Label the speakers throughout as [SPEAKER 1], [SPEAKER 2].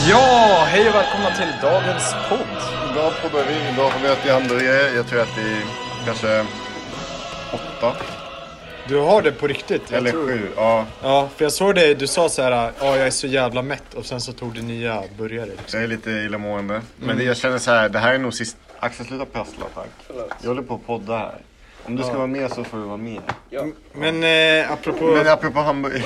[SPEAKER 1] Hej och välkomna till dagens podd.
[SPEAKER 2] Idag poddar vi, idag har vi ätit hamburgare. Jag tror att det är kanske åtta
[SPEAKER 1] Du har det på riktigt? jag
[SPEAKER 2] eller
[SPEAKER 1] tror.
[SPEAKER 2] sju. Ja,
[SPEAKER 1] Ja, för jag såg dig, du sa så här, ja jag är så jävla mätt och sen så tog du nya burgare. Liksom.
[SPEAKER 2] jag är lite illamående. Men
[SPEAKER 1] Mm.
[SPEAKER 2] det, jag känner så här, det här är nog sist... Axel sluta prassla tack. Jag håller på att podda här. Om du ska vara med så får du vara med.
[SPEAKER 1] Men eh, apropå,
[SPEAKER 2] Men apropå hamburgare.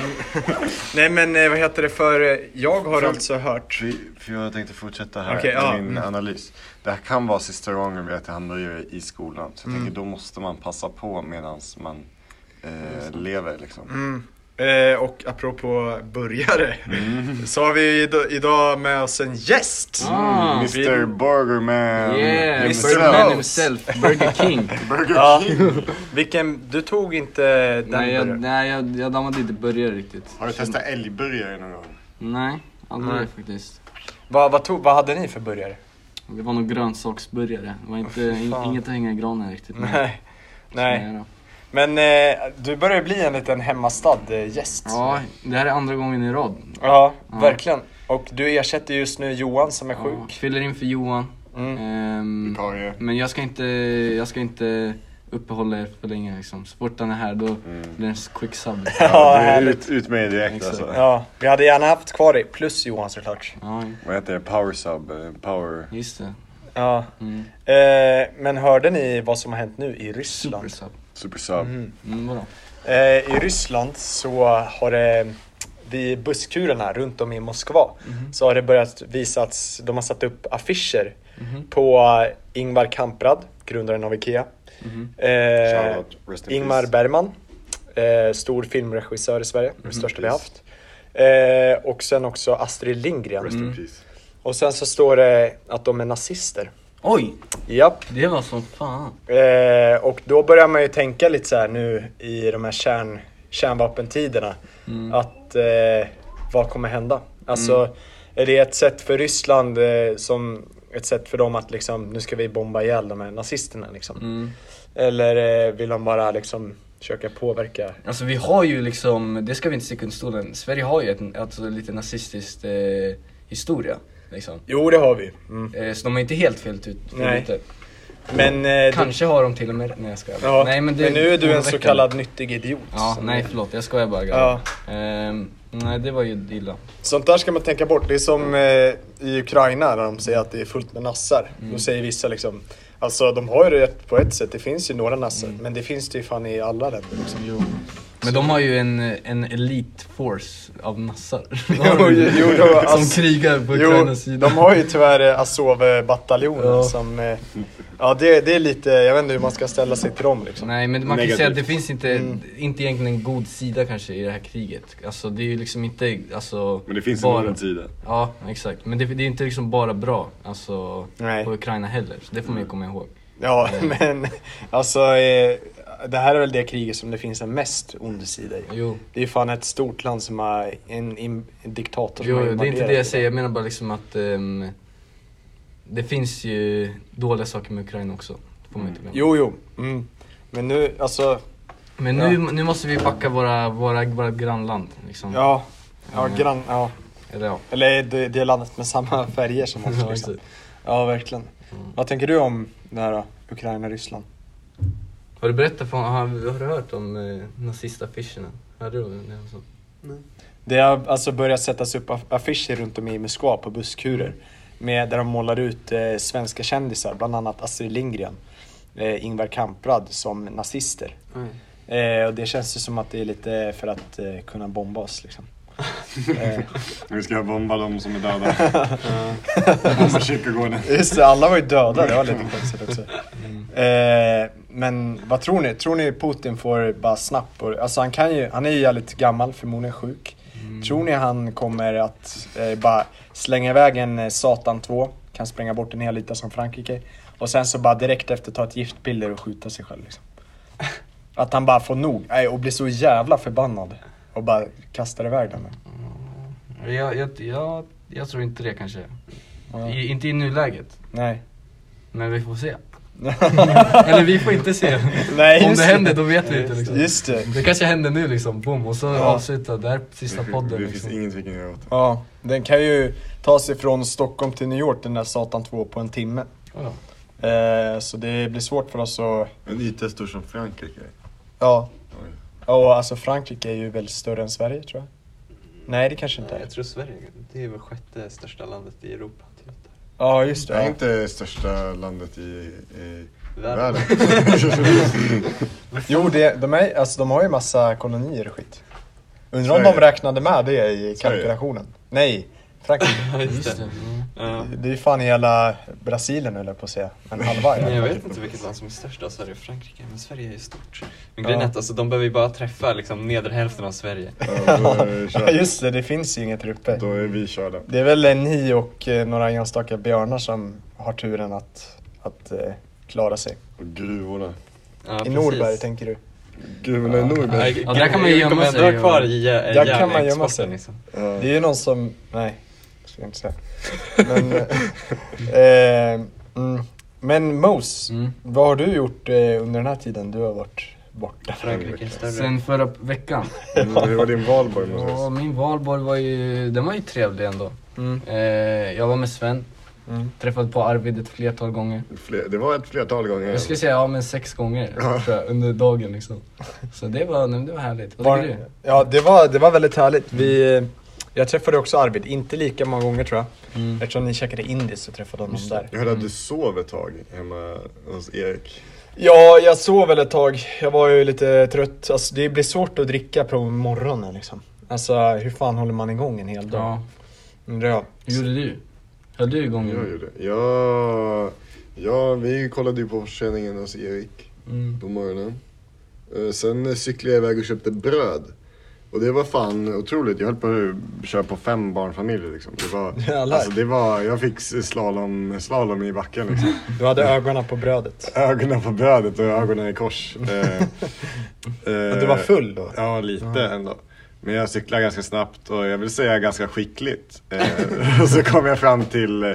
[SPEAKER 1] nej men eh, vad heter det för, eh, jag har alltså hört.
[SPEAKER 2] För- För jag tänkte fortsätta här
[SPEAKER 1] Okej,
[SPEAKER 2] med
[SPEAKER 1] ja. Mm.
[SPEAKER 2] min analys. Det här kan vara sista gången vi äter hamburgare i skolan. Så jag
[SPEAKER 1] Mm.
[SPEAKER 2] tänker då måste man passa på medan man eh, lever liksom.
[SPEAKER 1] Eh, och apropå burgare. Så har vi id- idag med oss en gäst.
[SPEAKER 3] Ah,
[SPEAKER 2] Mr
[SPEAKER 1] Um,
[SPEAKER 2] Burgerman.
[SPEAKER 3] yeah,
[SPEAKER 2] himself.
[SPEAKER 3] Birdman himself, Burger King.
[SPEAKER 2] Burger King.
[SPEAKER 1] Vilken, du tog inte den
[SPEAKER 3] nej, jag,
[SPEAKER 1] burgaren?
[SPEAKER 3] nej jag, jag dammade inte burgare riktigt.
[SPEAKER 2] Har du testat älgburgare någon gång?
[SPEAKER 3] Nej, aldrig
[SPEAKER 1] Nej.
[SPEAKER 3] faktiskt.
[SPEAKER 1] Vad, vad, tog, vad hade ni för burgare?
[SPEAKER 3] Det var nog grönsaksburgare. Det var inte,
[SPEAKER 1] fy fan.
[SPEAKER 3] in, inget att hänga i granen riktigt. men-
[SPEAKER 1] Nej. Nej.
[SPEAKER 3] Nej då.
[SPEAKER 1] Men eh, du börjar bli en liten hemmastad eh, gäst.
[SPEAKER 3] Ja, det här är andra gången i rad.
[SPEAKER 1] Ja,
[SPEAKER 3] Ja.
[SPEAKER 1] verkligen. Och du ersätter just nu Johan som är
[SPEAKER 3] Ja,
[SPEAKER 1] sjuk.
[SPEAKER 3] fyller in för Johan.
[SPEAKER 1] Mm.
[SPEAKER 3] Ehm,
[SPEAKER 2] Vikarie.
[SPEAKER 3] men jag ska inte, jag ska inte uppehålla er för länge liksom. Så fort han är här då blir det en quick sub.
[SPEAKER 1] Mm. Ja,
[SPEAKER 2] det är
[SPEAKER 1] härligt.
[SPEAKER 2] ut, ut med det direkt
[SPEAKER 3] Exakt.
[SPEAKER 2] alltså.
[SPEAKER 1] Ja, vi hade gärna haft kvar dig, plus Johan såklart.
[SPEAKER 3] Ja,
[SPEAKER 2] Vad heter det? Power sub? eh, Power...
[SPEAKER 3] just det.
[SPEAKER 1] Ja.
[SPEAKER 3] Mm.
[SPEAKER 1] Eh, men hörde ni vad som har hänt nu i Ryssland?
[SPEAKER 3] Super sub.
[SPEAKER 2] Super sub.
[SPEAKER 3] Mm, vadå?
[SPEAKER 1] Eh, I Ryssland så har det vid busskurerna runt om i Moskva så har det börjat visats, de har satt upp affischer på Ingvar Kamprad, grundaren av IKEA. Eh,
[SPEAKER 2] Shoutout, rest in
[SPEAKER 1] Ingmar
[SPEAKER 2] peace.
[SPEAKER 1] Bergman, eh, stor filmregissör i Sverige,
[SPEAKER 2] Mhm.
[SPEAKER 1] den största vi har haft. Eh, och sen också Astrid Lindgren.
[SPEAKER 2] Rest in peace.
[SPEAKER 1] Och sen så står det att de är nazister.
[SPEAKER 3] Oj,
[SPEAKER 1] Japp.
[SPEAKER 3] det var som fan.
[SPEAKER 1] Eh, och då börjar man ju tänka lite så här nu i de här kärn, kärnvapentiderna.
[SPEAKER 3] Mm.
[SPEAKER 1] Att eh, vad kommer hända? Alltså, är det ett sätt för Ryssland eh, som ett sätt för dem att liksom, nu ska vi bomba ihjäl de här nazisterna liksom?
[SPEAKER 3] Mm.
[SPEAKER 1] Eller eh, vill de bara liksom försöka påverka?
[SPEAKER 3] Alltså vi har ju liksom, det ska vi inte sticka under stolen, Sverige har ju ett, alltså, lite nazistiskt eh, historia. Liksom.
[SPEAKER 1] Jo, det har vi. Mm.
[SPEAKER 3] Eh, så de är inte helt fel ut. fel
[SPEAKER 1] Nej. Eh,
[SPEAKER 3] ute.
[SPEAKER 1] Men, eh,
[SPEAKER 3] Kanske har de till och med, nej jag skojar.
[SPEAKER 1] ja,
[SPEAKER 3] nej,
[SPEAKER 1] men,
[SPEAKER 3] det-
[SPEAKER 1] nu är du en så
[SPEAKER 3] oroväckande.
[SPEAKER 1] kallad nyttig idiot.
[SPEAKER 3] Ja,
[SPEAKER 1] som-
[SPEAKER 3] nej förlåt, jag skojar bara
[SPEAKER 1] Ja.
[SPEAKER 3] ja. ehm, Nej det var ju illa.
[SPEAKER 1] Sånt där ska man tänka bort. Det är som eh, i Ukraina när de säger att det är fullt med nassar.
[SPEAKER 3] Mm.
[SPEAKER 1] Då säger vissa liksom, alltså de har ju rätt på ett sätt, det finns ju några nassar.
[SPEAKER 3] Mm.
[SPEAKER 1] Men det finns det ju fan i alla länder liksom.
[SPEAKER 3] Men de har ju en, en elite force av nassar.
[SPEAKER 1] Jo, jo, jo, då, alltså-
[SPEAKER 3] som krigar på
[SPEAKER 1] Jo,
[SPEAKER 3] Ukrainas sida.
[SPEAKER 1] de har ju tyvärr eh, Azov-bataljonen
[SPEAKER 3] Ja.
[SPEAKER 1] som, eh, ja det, det är lite, jag vet inte hur man ska ställa sig till dem liksom.
[SPEAKER 3] Nej men man kan ju
[SPEAKER 2] Negativt.
[SPEAKER 3] säga att det finns inte,
[SPEAKER 1] Mm.
[SPEAKER 3] inte egentligen en god sida kanske i det här kriget. Alltså det är ju liksom inte, alltså...
[SPEAKER 2] Men det finns en
[SPEAKER 3] bara-
[SPEAKER 2] annan sida.
[SPEAKER 3] Ja, exakt. Men det, det är inte liksom bara bra alltså,
[SPEAKER 1] Nej.
[SPEAKER 3] på Ukraina heller. Så det får man
[SPEAKER 2] Mm.
[SPEAKER 3] ju komma ihåg.
[SPEAKER 1] Ja, men alltså eh, det här är väl det kriget som det finns en mest ond sida i.
[SPEAKER 3] Jo,
[SPEAKER 1] Det är ju fan ett stort land som har en, en, en diktator som
[SPEAKER 3] jo
[SPEAKER 1] har
[SPEAKER 3] det är inte
[SPEAKER 1] invaderat
[SPEAKER 3] det jag säger. Jag menar bara liksom att ehm, det finns ju dåliga saker med Ukraina också. Det får man inte glömma.
[SPEAKER 1] Jo, jo. Mm. Men nu, alltså,
[SPEAKER 3] Men nu, nu måste vi backa våra, våra, våra grannland. Liksom.
[SPEAKER 1] ja. Ja,
[SPEAKER 3] Mm.
[SPEAKER 1] grann, ja.
[SPEAKER 3] Eller ja.
[SPEAKER 1] Eller det, det landet med samma färger som oss.
[SPEAKER 3] Ja,
[SPEAKER 1] Liksom.
[SPEAKER 3] exakt. Mm.
[SPEAKER 1] Ja, verkligen. Vad tänker du om det här då? Ukraina-Ryssland?
[SPEAKER 3] Har du berättat för har, har du hört om eh, nazistaffischerna? Hörde du om det?
[SPEAKER 1] Det har alltså börjat sättas upp aff- affischer runt om i Moskva på busskurer. Med, där de målar ut eh, svenska kändisar, bland annat Astrid Lindgren, eh, Ingvar Kamprad, som nazister. Eh, och det känns ju som att det är lite för att eh, kunna bomba oss liksom. eh,
[SPEAKER 2] Vi ska bomba de som är döda.
[SPEAKER 3] Eh,
[SPEAKER 1] Eh.
[SPEAKER 2] Bomba kyrkogården.
[SPEAKER 1] Just det, alla var ju döda. Det var lite konstigt också. Eh, men vad tror ni? Tror ni Putin får bara snabbt... Och, alltså han, kan ju, han är ju jävligt gammal, förmodligen sjuk. Tror ni han kommer att eh, bara slänga iväg en eh, Satan 2, kan spränga bort en hel lita som Frankrike. Och sen så bara direkt efter ta ett giftpiller och skjuta sig själv liksom. Att han bara får nog nej, och blir så jävla förbannad och bara kastar iväg den.
[SPEAKER 3] Jag, jag, jag, jag tror inte det kanske.
[SPEAKER 1] Ja.
[SPEAKER 3] I, inte i nuläget.
[SPEAKER 1] Nej.
[SPEAKER 3] Men vi får se.
[SPEAKER 4] Eller vi får inte se.
[SPEAKER 1] Nej,
[SPEAKER 4] Om
[SPEAKER 1] just
[SPEAKER 4] det händer då vet vi inte liksom.
[SPEAKER 1] Just det.
[SPEAKER 4] Det kanske händer nu liksom, boom, och så
[SPEAKER 1] Ja.
[SPEAKER 4] avsluta där sista
[SPEAKER 2] det,
[SPEAKER 4] podden
[SPEAKER 2] Det finns
[SPEAKER 4] liksom.
[SPEAKER 2] inget vi kan göra åt det.
[SPEAKER 1] Ja, den kan ju ta sig från Stockholm till New York den där Satan 2 på en timme.
[SPEAKER 4] Ja.
[SPEAKER 1] Eh, så det blir svårt för oss att...
[SPEAKER 2] En yta är stor som Frankrike.
[SPEAKER 1] Ja,
[SPEAKER 2] Oj.
[SPEAKER 1] och alltså Frankrike är ju väl större än Sverige tror jag. Nej, det kanske inte
[SPEAKER 5] Nej,
[SPEAKER 1] är.
[SPEAKER 5] jag tror Sverige, det är väl sjätte största landet i Europa. Typ.
[SPEAKER 1] Ja, just
[SPEAKER 2] Det är
[SPEAKER 1] det.
[SPEAKER 2] inte det största landet i, i
[SPEAKER 5] Världen.
[SPEAKER 2] världen.
[SPEAKER 1] Ja. Jo, det, de, är, alltså, de har ju massa kolonier och skit. Undrar om de
[SPEAKER 2] Sverige.
[SPEAKER 1] räknade med det i
[SPEAKER 2] Sverige.
[SPEAKER 1] kalkylationen? Nej, Frankrike.
[SPEAKER 5] Ja,
[SPEAKER 4] Just det. Mm.
[SPEAKER 5] Ja.
[SPEAKER 1] Det är ju fan hela Brasilien höll jag på att säga. Men halva
[SPEAKER 5] Men
[SPEAKER 1] ja.
[SPEAKER 5] jag vet inte vilket land som är störst av Sverige och Frankrike, men Sverige är ju stort. Men
[SPEAKER 1] Ja.
[SPEAKER 5] grejen är att alltså, de behöver ju bara träffa liksom, nedre hälften av Sverige.
[SPEAKER 2] Ja, då är vi
[SPEAKER 1] ja,
[SPEAKER 2] körda.
[SPEAKER 1] just det. Det finns ju inget uppe.
[SPEAKER 2] Då är vi körda.
[SPEAKER 1] Det är väl ni och eh, några enstaka björnar som har turen att, att eh, klara sig.
[SPEAKER 2] Och gruvorna.
[SPEAKER 5] Ja,
[SPEAKER 1] I
[SPEAKER 5] precis.
[SPEAKER 1] Norberg tänker du?
[SPEAKER 2] Gruvorna i Norberg.
[SPEAKER 4] Ja, där kan man ju
[SPEAKER 5] Jag kommer
[SPEAKER 4] gömma
[SPEAKER 5] ändå
[SPEAKER 4] sig
[SPEAKER 5] ha
[SPEAKER 4] och-
[SPEAKER 5] kvar i eh,
[SPEAKER 1] Där kan man gömma
[SPEAKER 5] järnexporten,
[SPEAKER 1] sig.
[SPEAKER 5] Liksom.
[SPEAKER 2] Ja.
[SPEAKER 1] Det är ju någon som... Nej, det ska jag inte säga. Men, eh, mm. Men Mos,
[SPEAKER 3] Mm.
[SPEAKER 1] vad har du gjort eh, under den här tiden du har varit borta?
[SPEAKER 5] Frankrike är större.
[SPEAKER 3] Sen förra veckan.
[SPEAKER 2] Mm, Hur var din valborg
[SPEAKER 3] Ja,
[SPEAKER 2] Moses?
[SPEAKER 3] min valborg var ju, den var ju trevlig ändå.
[SPEAKER 1] Mm.
[SPEAKER 3] Eh, jag var med Sven,
[SPEAKER 1] Mm.
[SPEAKER 3] träffade på Arvid ett flertal gånger.
[SPEAKER 2] Fler, det var ett flertal gånger.
[SPEAKER 3] Jag skulle säga ja men sex gånger tror jag, under dagen liksom. Så det var, nej, men det var härligt. Vad tycker
[SPEAKER 1] Var, ja, det var, det var väldigt härligt. Vi, eh, jag träffade också Arvid, inte lika många gånger tror jag.
[SPEAKER 3] du? Mm.
[SPEAKER 1] Eftersom ni käkade indiskt så träffade jag honom där.
[SPEAKER 2] Jag hörde att du sov ett tag hemma hos Erik.
[SPEAKER 1] Ja, jag sov väl ett tag. Jag var ju lite trött. Alltså, det blir svårt att dricka på morgonen liksom. Alltså hur fan håller man igång en hel dag?
[SPEAKER 3] Ja,
[SPEAKER 1] Undrar jag.
[SPEAKER 3] hur gjorde du? Höll du igång?
[SPEAKER 2] Jag gjorde det. Ja, ja, vi kollade ju på försäljningen hos Erik
[SPEAKER 3] Mm.
[SPEAKER 2] på morgonen. Eh, Sen cyklade jag iväg och köpte bröd. Och det var fan otroligt. Jag höll på att köra på fem barnfamiljer liksom. Det var,
[SPEAKER 1] Jävlar.
[SPEAKER 2] alltså, det var, jag fick slalom, slalom i backen liksom.
[SPEAKER 1] Du hade ögonen på brödet.
[SPEAKER 2] Ögonen på brödet och ögonen i kors. Eh, eh,
[SPEAKER 1] Och du var full då?
[SPEAKER 2] Ja, lite ändå. Men jag cyklar ganska snabbt och jag vill säga ganska skickligt. Eh, och så kom jag fram till eh,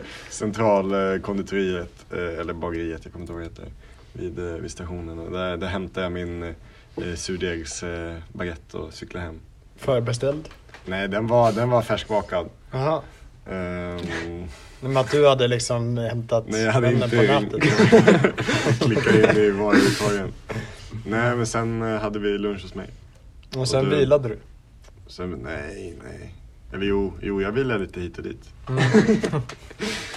[SPEAKER 2] centralkonditoriet, eh, eller bageriet, jag kommer inte ihåg vad det heter, vid, eh, vid stationen. Och där, där hämtade jag min eh, surdegsbaguette eh, baguette och cyklade hem.
[SPEAKER 1] Förbeställd?
[SPEAKER 2] Nej, den var, den var färskbakad.
[SPEAKER 1] Jaha.
[SPEAKER 2] Ehm,
[SPEAKER 1] Men att du hade liksom hämtat
[SPEAKER 2] Nej, jag hade
[SPEAKER 1] vännen
[SPEAKER 2] inte
[SPEAKER 1] på nätet?
[SPEAKER 2] klickat in i varukorgen. Nej, men sen eh, hade vi lunch hos mig.
[SPEAKER 1] Och sen
[SPEAKER 2] Och du-
[SPEAKER 1] vilade du?
[SPEAKER 2] Sen, nej, nej. Eller jo, jo, jag ville lite hit och dit.
[SPEAKER 1] Mm.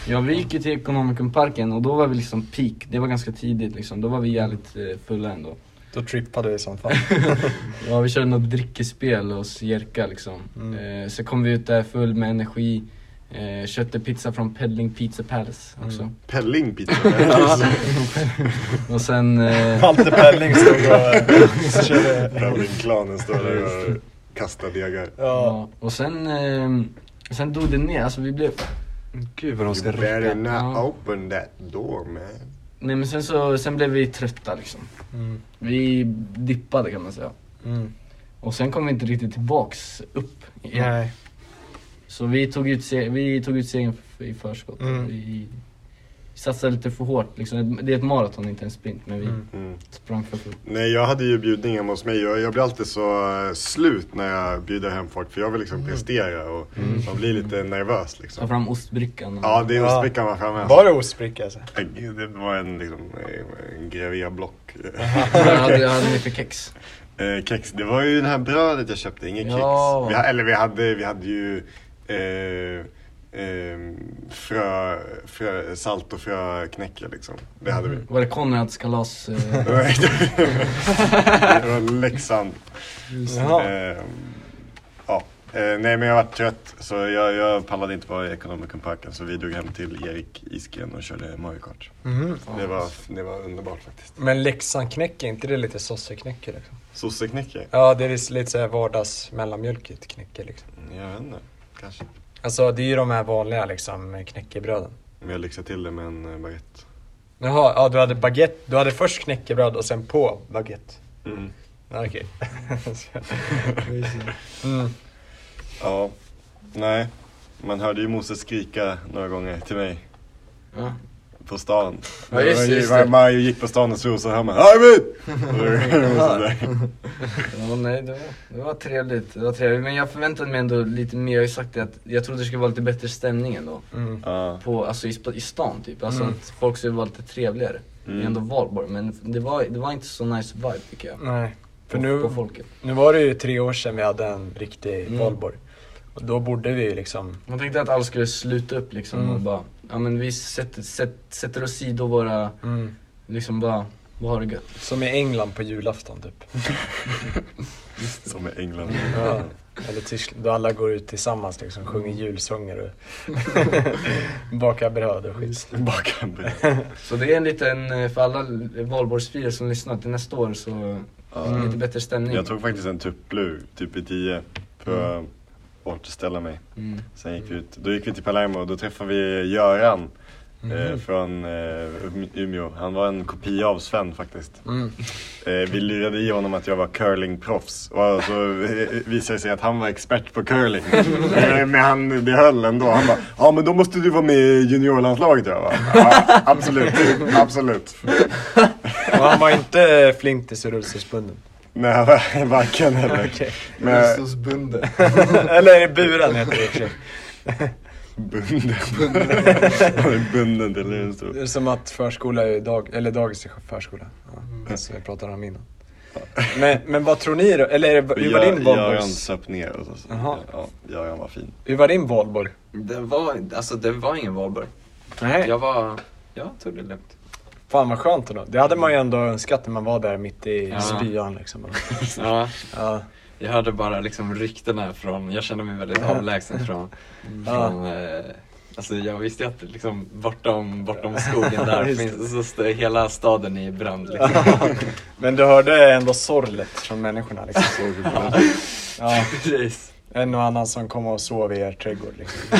[SPEAKER 3] Ja, vi gick ju till Ekonomikumparken och då var vi liksom peak. Det var ganska tidigt liksom. Då var vi jävligt eh, fulla ändå.
[SPEAKER 1] Då trippade du i sån fall.
[SPEAKER 3] Ja, vi körde något drickespel hos Jerka liksom.
[SPEAKER 1] Mm.
[SPEAKER 3] Eh, så kom vi ut där full med energi. Eh, köpte pizza från Peddling Pizza Palace också.
[SPEAKER 2] Pelling pizza.
[SPEAKER 3] Och sen... Eh,
[SPEAKER 1] Malte Pelling stod och körde.
[SPEAKER 2] Pellingklanen står där och kastar degar.
[SPEAKER 1] Ja.
[SPEAKER 3] ja, och sen... Eh, sen dog det ner. Alltså vi blev...
[SPEAKER 5] Gud vad de
[SPEAKER 2] You
[SPEAKER 5] ska
[SPEAKER 2] better
[SPEAKER 5] rycka.
[SPEAKER 2] not
[SPEAKER 3] Ja.
[SPEAKER 2] open that door man.
[SPEAKER 3] Nej men sen så, sen blev vi trötta liksom.
[SPEAKER 1] Mm.
[SPEAKER 3] Vi dippade kan man säga.
[SPEAKER 1] Mm.
[SPEAKER 3] Och sen kom vi inte riktigt tillbaks upp igen.
[SPEAKER 1] Nej.
[SPEAKER 3] Så vi tog ut, se- vi tog ut segern f- i förskott.
[SPEAKER 1] Mm.
[SPEAKER 3] Vi, vi satsade lite för hårt liksom. Det är ett maraton, inte en sprint. Men vi
[SPEAKER 1] Mm.
[SPEAKER 2] Mm.
[SPEAKER 3] sprang för fort.
[SPEAKER 2] Nej, jag hade ju bjudning hemma hos mig. Jag, jag blir alltid så eh, slut när jag bjuder hem folk för jag vill liksom prestera och man blir lite nervös
[SPEAKER 3] Ta
[SPEAKER 2] liksom.
[SPEAKER 3] fram ostbrickan. och-
[SPEAKER 2] Ja, det är
[SPEAKER 1] Ja.
[SPEAKER 2] ostbrickan var framme.
[SPEAKER 1] Var det ostbricka alltså?
[SPEAKER 2] Gud, Det var en, liksom, eh, en Grevea-block.
[SPEAKER 3] Jag hade, jag hade mycket kex.
[SPEAKER 2] Eh, kex. Det var ju det här brödet jag köpte, inget
[SPEAKER 3] Ja.
[SPEAKER 2] kex. Vi, ha- eller vi hade, vi hade ju eh, eh, frö, frö, salt och fröknäcke liksom. Det hade vi.
[SPEAKER 3] Var det Konrads kalas? eh,
[SPEAKER 2] Det var- det var Leksand.
[SPEAKER 1] Jaha.
[SPEAKER 2] Eh, ja. Eh, nej men jag var trött så jag, jag pallade inte vara i Economic-parken så vi drog hem till Erik Isgren och körde Mario Kart.
[SPEAKER 1] Mhm.
[SPEAKER 2] Det var, det var underbart faktiskt.
[SPEAKER 1] Men Leksandknäcke, är inte det lite sosseknäcke liksom?
[SPEAKER 2] Sosseknäcke?
[SPEAKER 1] Ja, det är lite såhär vardags mellanmjölkigt knäcke liksom.
[SPEAKER 2] Mm, Jag vet inte, kanske.
[SPEAKER 1] Alltså det är ju de här vanliga liksom knäckebröden.
[SPEAKER 2] Men jag lyxade till det med en eh, baguette.
[SPEAKER 1] Jaha, ja, du hade baguette. Du hade först knäckebröd och sen på baguette.
[SPEAKER 2] Mm.
[SPEAKER 1] Ja, Okej. mm.
[SPEAKER 2] Ja, nej. Man hörde ju Moses skrika några gånger till mig
[SPEAKER 3] ja.
[SPEAKER 2] på stan.
[SPEAKER 4] Ja, just det, just det.
[SPEAKER 2] man, man gick på stan och svor så hör man Arvid! Och då- och sådär.
[SPEAKER 3] Ja, nej, det var, det var trevligt. Det var trevligt. Men jag förväntade mig ändå lite mer. Jag har ju sagt det att jag trodde det skulle vara lite bättre stämning ändå.
[SPEAKER 1] Mm.
[SPEAKER 2] Ja.
[SPEAKER 3] På, alltså i, sp- i stan typ. Alltså
[SPEAKER 1] Mm.
[SPEAKER 3] att folk skulle vara lite trevligare. Det är ändå
[SPEAKER 2] Mm.
[SPEAKER 3] valborg. Men det var, det var inte så nice vibe tycker jag.
[SPEAKER 1] Nej. För
[SPEAKER 3] på,
[SPEAKER 1] nu,
[SPEAKER 3] på folket.
[SPEAKER 1] nu var det ju tre år sedan vi hade en riktig
[SPEAKER 3] Mm.
[SPEAKER 1] valborg. Och då borde vi ju liksom...
[SPEAKER 3] Man tänkte att alla skulle sluta upp liksom
[SPEAKER 1] Mm.
[SPEAKER 3] och bara, ja men vi sätter, sätt, sätter åsido våra, liksom bara, vad har det gött.
[SPEAKER 1] Som i England på julafton typ.
[SPEAKER 2] Som i England.
[SPEAKER 1] Ja. Eller Tyskland, då alla går ut tillsammans liksom,
[SPEAKER 3] Mm.
[SPEAKER 1] sjunger julsånger och bakar bröd och skit.
[SPEAKER 2] Bakar bröd.
[SPEAKER 3] Så det är en liten, eh, för alla valborgsfirare som lyssnar till nästa år så,
[SPEAKER 2] Ja.
[SPEAKER 1] Mm.
[SPEAKER 3] lite bättre stämning.
[SPEAKER 2] Jag tog faktiskt en tupplur, typ i 10, för att återställa mig.
[SPEAKER 3] Mm.
[SPEAKER 2] Sen gick vi ut, då gick vi till Palermo och då träffade vi Göran eh, från eh, Um- Umeå. Han var en kopia av Sven faktiskt.
[SPEAKER 1] Mm.
[SPEAKER 2] Eh, vi lurade i honom att jag var curlingproffs och så eh, visade det sig att han var expert på curling. eh, men han, det höll ändå. Han bara, ja men då måste du vara med i juniorlandslaget jag bara, ja, absolut, absolut.
[SPEAKER 1] Och han var inte flintis i rullstolsbunden.
[SPEAKER 2] Nej, varken eller.
[SPEAKER 1] Okej.
[SPEAKER 2] Men,
[SPEAKER 4] Rullstolsbunden.
[SPEAKER 1] Eller buren heter det i och för sig.
[SPEAKER 2] bunden. bunden till rullstol.
[SPEAKER 1] Det är som att förskola är dag, eller dagis är förskola. Ja, som vi pratade om innan. Mm. Men, men vad tror ni då? Eller är det, hur var din
[SPEAKER 2] Göran
[SPEAKER 1] valborgs...
[SPEAKER 2] söp ner oss. Alltså.
[SPEAKER 1] Jaha.
[SPEAKER 2] Ja, Göran var fin.
[SPEAKER 1] Hur var din valborg?
[SPEAKER 5] Det var, alltså det var ingen valborg.
[SPEAKER 1] Nej.
[SPEAKER 5] Jag var, jag tog det lugnt.
[SPEAKER 1] Fan vad skönt ändå. Det hade man ju ändå önskat när man var där mitt i
[SPEAKER 5] Ja.
[SPEAKER 1] spyan liksom.
[SPEAKER 5] Ja,
[SPEAKER 1] Ja.
[SPEAKER 5] jag hörde bara liksom ryktena från, jag kände mig väldigt avlägsen från,
[SPEAKER 1] Ja.
[SPEAKER 5] från eh, Alltså jag visste ju att liksom bortom, bortom skogen där
[SPEAKER 1] Just det.
[SPEAKER 5] finns, så står hela staden i brand liksom.
[SPEAKER 1] Men du hörde ändå sorlet från människorna liksom. Ja.
[SPEAKER 5] Precis.
[SPEAKER 1] En och annan som kom och sov i er trädgård liksom.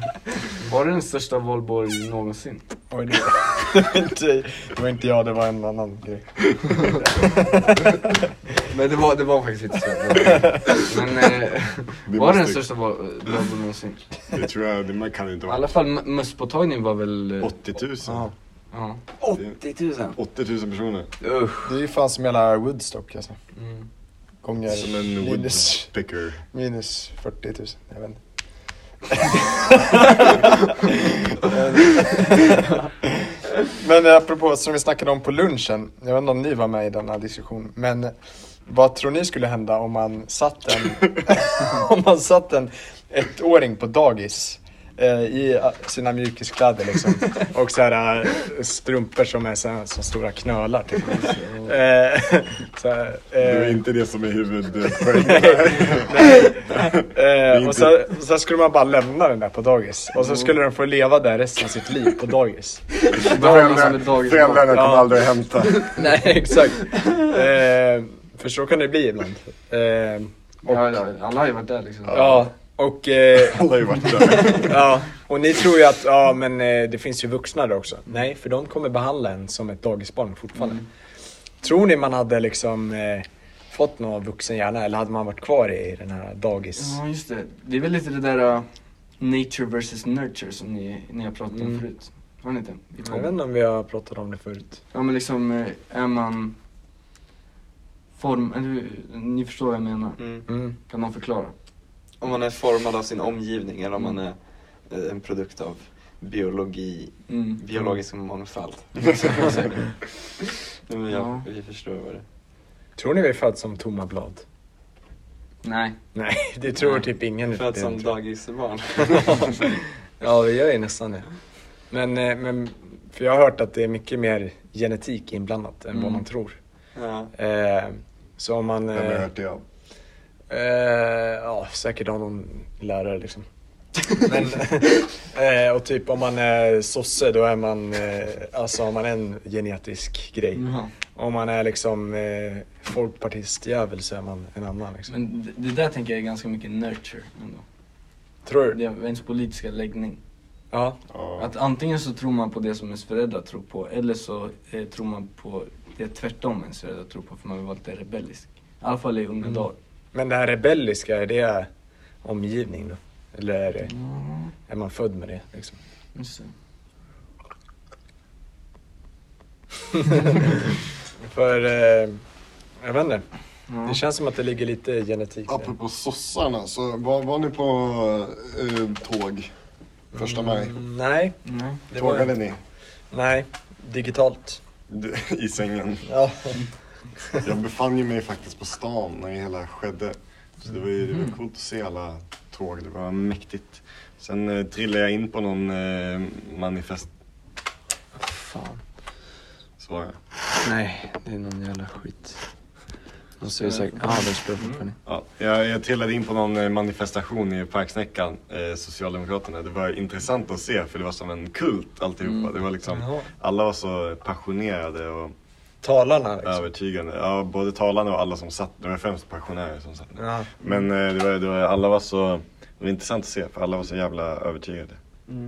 [SPEAKER 3] Var det den största valborg någonsin?
[SPEAKER 1] Oj, det, det, var inte, det var inte jag, det var en annan grej.
[SPEAKER 3] Men det var, det var faktiskt inte så. Men eh,
[SPEAKER 2] Det
[SPEAKER 3] var det den
[SPEAKER 2] måste-
[SPEAKER 3] största val- valborg någonsin?
[SPEAKER 2] Det tror jag, det man kan inte
[SPEAKER 3] I
[SPEAKER 2] vara.
[SPEAKER 3] alla fall m- mösspåtagning var väl... eh,
[SPEAKER 2] 80 000.
[SPEAKER 1] Ja.
[SPEAKER 3] Ja.
[SPEAKER 5] 80 000!
[SPEAKER 2] 80 000 personer.
[SPEAKER 5] Usch.
[SPEAKER 1] Det är ju fan som hela Woodstock alltså.
[SPEAKER 3] mm.
[SPEAKER 1] Gånger
[SPEAKER 2] Som en
[SPEAKER 1] minus,
[SPEAKER 2] woodpicker.
[SPEAKER 1] minus 40 000, jag vet inte. men apropå som vi snackade om på lunchen, jag vet inte om ni var med i den här diskussionen, men vad tror ni skulle hända om man satt en, om man satt en ettåring på dagis eh, i eh, sina mjukiskläder liksom och så här eh, strumpor som är så här, som stora knölar typ. Eh, så här,
[SPEAKER 2] Det är
[SPEAKER 1] eh,
[SPEAKER 2] inte det som är huvudpoängen. är
[SPEAKER 1] Eh,
[SPEAKER 2] inte-
[SPEAKER 1] och så, så skulle man bara lämna den där på dagis. Och så skulle den få leva där resten av sitt liv på dagis.
[SPEAKER 2] Föräldrar- Föräldrarna kommer
[SPEAKER 1] Ja.
[SPEAKER 2] aldrig att hämta.
[SPEAKER 1] Nej, exakt. Eh, för så kan det bli ibland. Eh, och,
[SPEAKER 3] Ja, ja, alla har ju varit där liksom.
[SPEAKER 1] ja, och, eh,
[SPEAKER 2] Alla har ju varit där.
[SPEAKER 1] ja, och ni tror ju att ja, men, eh, det finns ju vuxna där också. Nej, för de kommer behandla en som ett dagisbarn fortfarande. Tror ni man hade liksom eh, fått någon vuxen hjärna eller hade man varit kvar i den här dagis...
[SPEAKER 3] Ja, just det. Det är väl lite det där uh, nature versus nurture som ni, ni har pratat om
[SPEAKER 1] Mm.
[SPEAKER 3] förut. Har ni inte? I
[SPEAKER 1] Jag vet
[SPEAKER 3] podden.
[SPEAKER 1] inte om vi har pratat om det förut.
[SPEAKER 3] Ja, men liksom eh, är man form... eller hur- Ni förstår vad jag menar.
[SPEAKER 1] Mm.
[SPEAKER 3] Kan någon förklara?
[SPEAKER 5] Om man är formad av sin omgivning eller om man är eh, en produkt av biologi,
[SPEAKER 3] Mm.
[SPEAKER 5] biologisk mångfald. Nej, Men
[SPEAKER 3] Ja.
[SPEAKER 5] jag, vi förstår vad det är.
[SPEAKER 1] Tror ni vi föds som tomma blad?
[SPEAKER 3] Nej.
[SPEAKER 1] Nej, det tror typ ingen. nu för
[SPEAKER 5] Född
[SPEAKER 1] tiden,
[SPEAKER 5] som
[SPEAKER 1] tror jag.
[SPEAKER 5] dagisbarn.
[SPEAKER 1] Ja, vi gör ju nästan det. Men, eh, men, för jag har hört att det är mycket mer genetik inblandat än vad
[SPEAKER 3] Mm.
[SPEAKER 1] man tror.
[SPEAKER 5] Ja.
[SPEAKER 1] Eh, så om man...
[SPEAKER 2] Vem har
[SPEAKER 1] Eh,
[SPEAKER 2] hört det av?
[SPEAKER 1] eh, ja, säkert av någon lärare liksom. Men, eh, och typ om man är sosse, då är man... Eh, alltså har man en genetisk grej.
[SPEAKER 3] Jaha.
[SPEAKER 1] Om man är liksom eh, folkpartistjävel så är man en annan liksom.
[SPEAKER 3] Men det, det där tänker jag är ganska mycket nurture ändå.
[SPEAKER 1] tror du?
[SPEAKER 3] Det är ens politiska läggning.
[SPEAKER 1] Ja.
[SPEAKER 2] Ja.
[SPEAKER 3] Att antingen så tror man på det som ens föräldrar tror på eller så eh, tror man på det tvärtom ens föräldrar tror på för man vill vara lite rebellisk. I alla fall i unga
[SPEAKER 1] Mm.
[SPEAKER 3] dagar.
[SPEAKER 1] Men det här rebelliska, är det omgivning då? Eller är, det, är man född med det? Liksom?
[SPEAKER 3] Just det.
[SPEAKER 1] För, eh, jag vet inte.
[SPEAKER 3] Ja.
[SPEAKER 1] Det känns som att det ligger lite genetik där.
[SPEAKER 6] Apropå sossarna, så var, var ni på eh, tåg första maj?
[SPEAKER 1] Mm, Nej,
[SPEAKER 3] Nej.
[SPEAKER 1] det
[SPEAKER 6] Tågade
[SPEAKER 1] var,
[SPEAKER 6] ni?
[SPEAKER 1] nej, digitalt.
[SPEAKER 2] Du- I sängen.
[SPEAKER 1] Ja.
[SPEAKER 6] Jag befann ju mig faktiskt på stan när det hela skedde. Så det var ju
[SPEAKER 2] Mm.
[SPEAKER 6] det var coolt att se alla
[SPEAKER 2] Tåg, det var mäktigt. Sen eh, trillade jag in på någon eh, manifest...
[SPEAKER 5] Fan.
[SPEAKER 2] Så var jag.
[SPEAKER 5] Nej, det är någon jävla skit. De säger säkert... Ja, det spelar fortfarande.
[SPEAKER 2] Ja, jag, jag trillade in på någon eh, manifestation i Parksnäckan, eh, Socialdemokraterna. Det var intressant att se för det var som en kult alltihopa. Det var liksom,
[SPEAKER 1] Mm. Jaha.
[SPEAKER 2] alla var så passionerade och
[SPEAKER 1] Talarna liksom.
[SPEAKER 2] övertygande. Ja, både talarna och alla som satt. Det var främst pensionärer som satt.
[SPEAKER 1] Ja.
[SPEAKER 2] Men eh, det var, det var, alla var så... Det var intressant att se för alla var så jävla övertygade.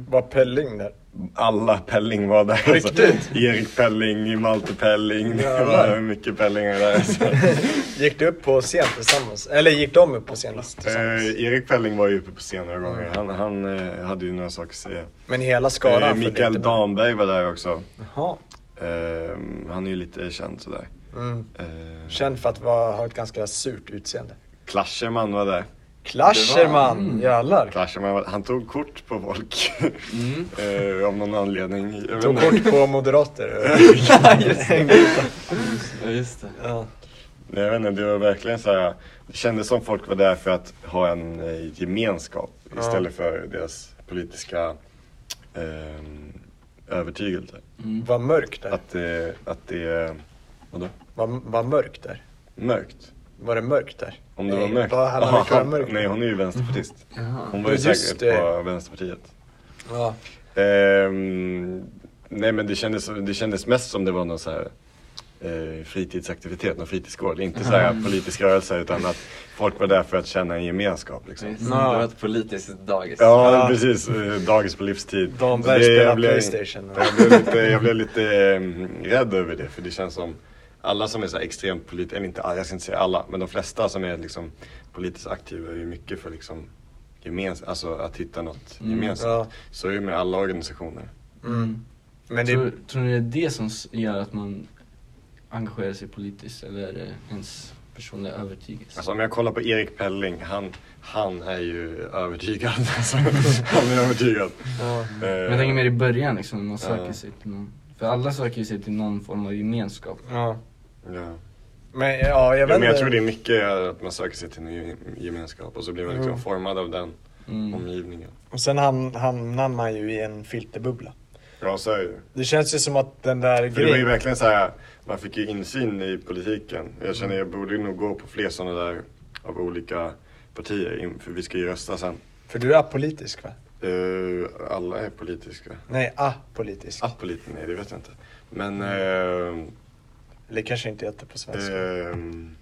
[SPEAKER 1] Var Pelling där?
[SPEAKER 2] Alla Pelling var där. alltså.
[SPEAKER 1] Riktigt?
[SPEAKER 2] Erik Pelling, Malte Pelling. Det var
[SPEAKER 1] Jävlar.
[SPEAKER 2] mycket Pellingar där. Alltså.
[SPEAKER 1] Gick du upp på scen tillsammans? Eller gick de upp på scen tillsammans?
[SPEAKER 2] Eh, Erik Pelling var ju uppe på scen några gånger. Han, han eh, hade ju några saker att säga.
[SPEAKER 1] Men hela skalan?
[SPEAKER 2] Eh,
[SPEAKER 1] följde
[SPEAKER 2] Mikael
[SPEAKER 1] inte med.
[SPEAKER 2] Damberg var där också.
[SPEAKER 1] Jaha.
[SPEAKER 2] Eh, han är ju lite känd sådär.
[SPEAKER 1] Mm.
[SPEAKER 2] Eh,
[SPEAKER 1] Känd för att vara, ha ett ganska surt utseende.
[SPEAKER 2] Clasherman var där.
[SPEAKER 1] Clasherman!
[SPEAKER 2] Mm.
[SPEAKER 1] Jävlar!
[SPEAKER 2] Clasherman var, han tog kort på folk. eh, av någon anledning. Jag vet
[SPEAKER 1] Mm. Tog
[SPEAKER 2] inte.
[SPEAKER 1] kort på moderater.
[SPEAKER 5] Ja, just det.
[SPEAKER 1] ja.
[SPEAKER 2] Nej, Jag vet inte, det var verkligen så här. Det kändes som folk var där för att ha en eh, gemenskap
[SPEAKER 1] Ja.
[SPEAKER 2] istället för deras politiska eh, övertygelse.
[SPEAKER 1] Var mörkt där.
[SPEAKER 2] Att det, att det, vadå?
[SPEAKER 1] Var, var mörkt där.
[SPEAKER 2] Mörkt.
[SPEAKER 1] Var det mörkt där?
[SPEAKER 2] Om det var
[SPEAKER 1] Nej,
[SPEAKER 2] mörkt.
[SPEAKER 1] Vad hade
[SPEAKER 2] Aha,
[SPEAKER 1] det kunnat vara mörkt?
[SPEAKER 2] nej, hon är ju vänsterpartist. Hon var
[SPEAKER 1] Ja,
[SPEAKER 2] ju
[SPEAKER 1] just
[SPEAKER 2] säkert
[SPEAKER 1] det.
[SPEAKER 2] på Vänsterpartiet.
[SPEAKER 1] Ja.
[SPEAKER 2] Ehm, nej men det kändes, det kändes mest som det var någon så här eh, fritidsaktivitet, någon fritidsgård. Inte så här politisk rörelse utan att folk var där för att känna en gemenskap liksom.
[SPEAKER 5] Det var ett politiskt dagis.
[SPEAKER 2] Ja,
[SPEAKER 1] Ja.
[SPEAKER 2] precis. Eh, Dagis på livstid.
[SPEAKER 1] Damberg
[SPEAKER 2] Det- jag
[SPEAKER 1] spelar
[SPEAKER 2] blev-
[SPEAKER 1] Playstation.
[SPEAKER 2] Jag blev lite, jag blev lite eh, rädd över det för det känns som alla som är så här extremt politiskt, eller inte alla, jag ska inte säga alla, men de flesta som är liksom politiskt aktiva är ju mycket för liksom gemens, alltså att hitta något gemensamt.
[SPEAKER 1] ja.
[SPEAKER 2] Så är det med alla organisationer.
[SPEAKER 1] Mm. Men det,
[SPEAKER 3] Tror, tror ni det är det som s- gör att man engagerar sig politiskt eller är det ens personliga övertygelse?
[SPEAKER 2] Alltså om jag kollar på Erik Pelling, han, han är ju övertygad. Alltså, han är övertygad.
[SPEAKER 1] ja.
[SPEAKER 3] Men jag tänker mer i början liksom, när man söker
[SPEAKER 2] eh, Ja.
[SPEAKER 3] sig till någon. För alla söker ju sig till någon form av gemenskap.
[SPEAKER 1] Ja.
[SPEAKER 2] Eh, Ja.
[SPEAKER 1] Men ja, jag
[SPEAKER 2] Ja,
[SPEAKER 1] vet
[SPEAKER 2] men jag
[SPEAKER 1] inte.
[SPEAKER 2] tror det är mycket att man söker sig till en ge- gemenskap och så blir man liksom
[SPEAKER 1] Mm.
[SPEAKER 2] formad av den
[SPEAKER 3] Mm.
[SPEAKER 2] omgivningen.
[SPEAKER 1] Och sen ham- hamnar man ju i en filterbubbla.
[SPEAKER 2] Ja, så är det ju.
[SPEAKER 1] Det känns ju som att den där
[SPEAKER 2] För det var ju
[SPEAKER 1] grejen...
[SPEAKER 2] verkligen så här, man fick ju insyn i politiken. Jag känner
[SPEAKER 1] Mm.
[SPEAKER 2] jag borde nog gå på fler sådana där av olika partier, in- för vi ska ju rösta sen.
[SPEAKER 1] För du är apolitisk va?
[SPEAKER 2] Eh, alla är politiska.
[SPEAKER 1] Nej, apolitisk.
[SPEAKER 2] Apolitik, nej det vet jag inte. Men...
[SPEAKER 1] Mm.
[SPEAKER 2] eh,
[SPEAKER 1] Det kanske inte heter på svenska.
[SPEAKER 2] Ehm,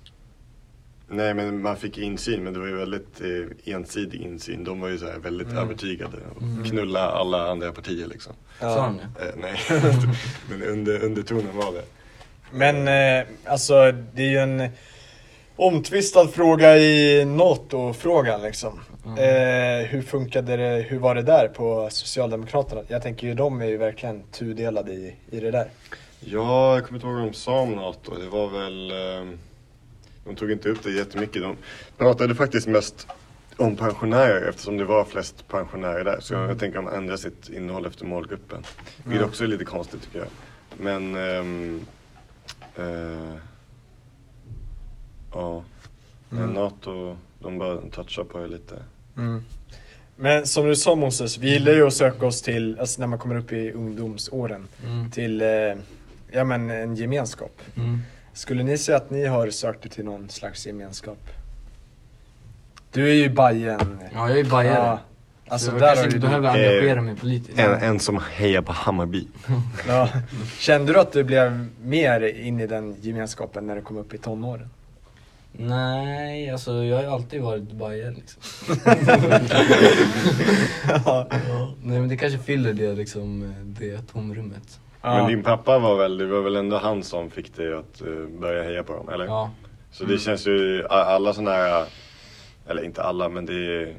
[SPEAKER 2] nej men man fick insyn men det var ju väldigt eh, ensidig insyn. De var ju så här väldigt övertygade och knulla alla andra partier liksom.
[SPEAKER 3] Sa han det?
[SPEAKER 2] Eh, nej, men under, undertonen var det.
[SPEAKER 1] Men eh, alltså, det är ju en omtvistad fråga i NATO-frågan liksom. Eh, hur funkade det, hur var det där på Socialdemokraterna? Jag tänker ju de är ju verkligen tudelade i, i det där.
[SPEAKER 2] Ja, jag kommer inte ihåg vad de sa om NATO. Det var väl... ehm, de tog inte upp det jättemycket. De pratade faktiskt mest om pensionärer eftersom det var flest pensionärer där. Så jag tänker att de ändrar sitt innehåll efter målgruppen. Vilket också är lite konstigt tycker jag. Men... ehm, eh, ja. Men NATO, de bara touchar på det lite.
[SPEAKER 1] Men som du sa Moses, vi gillar ju att söka oss till, alltså när man kommer upp i ungdomsåren, till eh, ja, men en gemenskap.
[SPEAKER 2] Typ.
[SPEAKER 3] Mm.
[SPEAKER 1] Skulle ni säga att ni har sökt er till någon slags gemenskap? Du är ju Bajen.
[SPEAKER 3] Ja, jag är bajare.
[SPEAKER 1] Ja. Alltså
[SPEAKER 3] jag
[SPEAKER 1] där
[SPEAKER 3] kanske
[SPEAKER 1] har
[SPEAKER 3] inte
[SPEAKER 1] du...
[SPEAKER 3] behöver
[SPEAKER 2] Eh,
[SPEAKER 3] engagera mig politiskt.
[SPEAKER 2] en som hejar på Hammarby.
[SPEAKER 1] Ja. Kände du att du blev mer in i den gemenskapen när du kom upp i tonåren?
[SPEAKER 3] Nej, alltså jag har ju alltid varit bajare liksom.
[SPEAKER 1] ja.
[SPEAKER 3] Ja. Nej men det kanske fyller det liksom, eh, det tomrummet.
[SPEAKER 2] Men din pappa var väl, det var väl ändå han som fick dig att eh, börja heja på dem, eller?
[SPEAKER 3] Ja.
[SPEAKER 2] Så
[SPEAKER 1] Mm.
[SPEAKER 2] det känns ju, a- alla sådana här, eller inte alla men det är,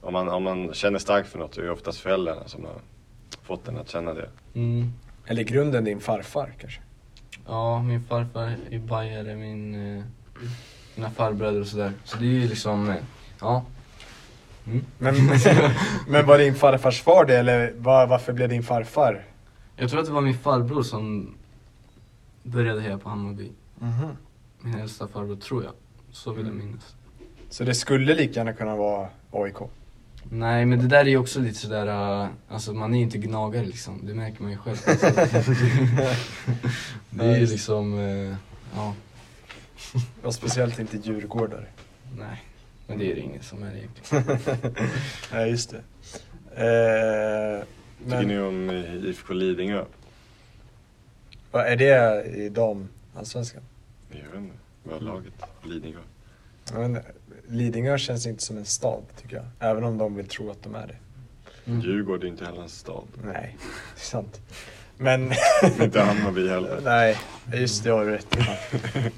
[SPEAKER 2] om man, om man känner starkt för något så är det oftast föräldrarna som har fått en att känna det.
[SPEAKER 3] Mm.
[SPEAKER 1] Eller i grunden din farfar kanske?
[SPEAKER 3] Ja, min farfar är bajare, min, eh, mina farbröder och sådär. Så det är ju liksom, eh, ja. Mm.
[SPEAKER 1] Men, men var din farfars far det eller var, varför blev din farfar?
[SPEAKER 3] Jag tror att det var min farbror som började heja på Hammarby.
[SPEAKER 1] Mhm.
[SPEAKER 3] Min äldsta farbror, tror jag. Så vill jag
[SPEAKER 4] Mm.
[SPEAKER 3] minnas.
[SPEAKER 1] Så det skulle lika gärna kunna vara AIK?
[SPEAKER 3] Nej, men det där är ju också lite sådär, eh, alltså man är ju inte gnagare liksom. Det märker man ju själv. Alltså, det är ju liksom, eh, ja,
[SPEAKER 1] Och speciellt inte djurgårdar.
[SPEAKER 3] nej. Men det är det ingen som är egentligen.
[SPEAKER 1] Nej, just det. Eh,
[SPEAKER 2] Tycker
[SPEAKER 1] men
[SPEAKER 2] ni om eh, IFK Lidingö?
[SPEAKER 1] vad är det i dam, allsvenskan?
[SPEAKER 2] Jag vet inte. Vad är laget? Lidingö?
[SPEAKER 1] Jag vet inte. Lidingö känns inte som en stad tycker jag. Även om de vill tro att de är det. Mm.
[SPEAKER 2] Djurgården är inte heller en stad.
[SPEAKER 1] Nej, det är sant. Men...
[SPEAKER 2] Inte Hammarby heller.
[SPEAKER 1] nej, just det, jag har du rätt i.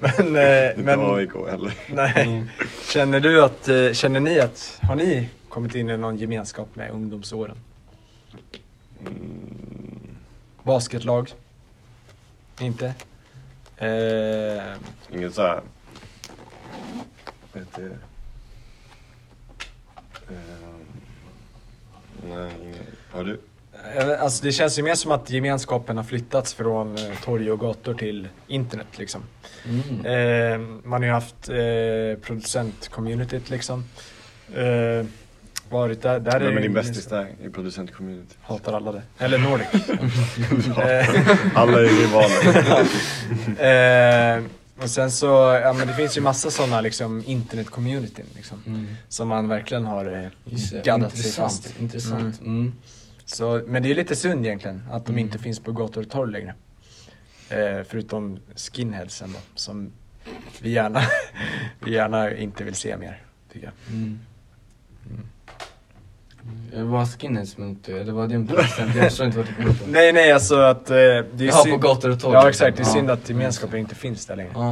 [SPEAKER 1] Men... Eh,
[SPEAKER 2] Inte
[SPEAKER 1] men
[SPEAKER 2] AIK heller.
[SPEAKER 1] nej. Känner du att... eh, Känner ni att... Har ni kommit in i någon gemenskap med ungdomsåren?
[SPEAKER 2] Mm.
[SPEAKER 1] Basketlag? Inte? Eh,
[SPEAKER 2] Ingen så här... Vad heter det? Ehm, Nej, ingen. Har du?
[SPEAKER 1] Jag vet- Alltså det känns ju mer som att gemenskapen har flyttats från eh, torg och gator till internet liksom.
[SPEAKER 3] Mm.
[SPEAKER 1] Eh, man har ju haft eh, producentcommunityt liksom. Eh, varit där. där
[SPEAKER 2] Vem är
[SPEAKER 1] ju-
[SPEAKER 2] din bästis där i producentcommunity?
[SPEAKER 1] Hatar alla det. Eller Nordic.
[SPEAKER 2] Alla är rivaler.
[SPEAKER 1] eh, och sen så, ja men det finns ju massa sådana liksom internetcommunityn liksom.
[SPEAKER 3] Mm.
[SPEAKER 1] Som man verkligen har eh,
[SPEAKER 3] Just det,
[SPEAKER 1] gaddat sig fast i.
[SPEAKER 3] intressant. intressant. Mm.
[SPEAKER 1] Så, men det är lite synd egentligen att de
[SPEAKER 3] Mm.
[SPEAKER 1] inte finns på gator och torg längre. Eh, förutom skinheadsen då, som vi gärna, vi gärna inte vill se mer. Tycker jag.
[SPEAKER 3] Mm. Jag var skinheads men inte, det var din present, jag förstår inte vad du kommer på.
[SPEAKER 1] Nej, nej, alltså att eh, det är
[SPEAKER 3] Ja, på
[SPEAKER 1] synd.
[SPEAKER 3] gator och torg. liksom.
[SPEAKER 1] Ja, exakt. Det är
[SPEAKER 3] Ja.
[SPEAKER 1] synd att gemenskapen inte finns där längre.
[SPEAKER 3] Ja.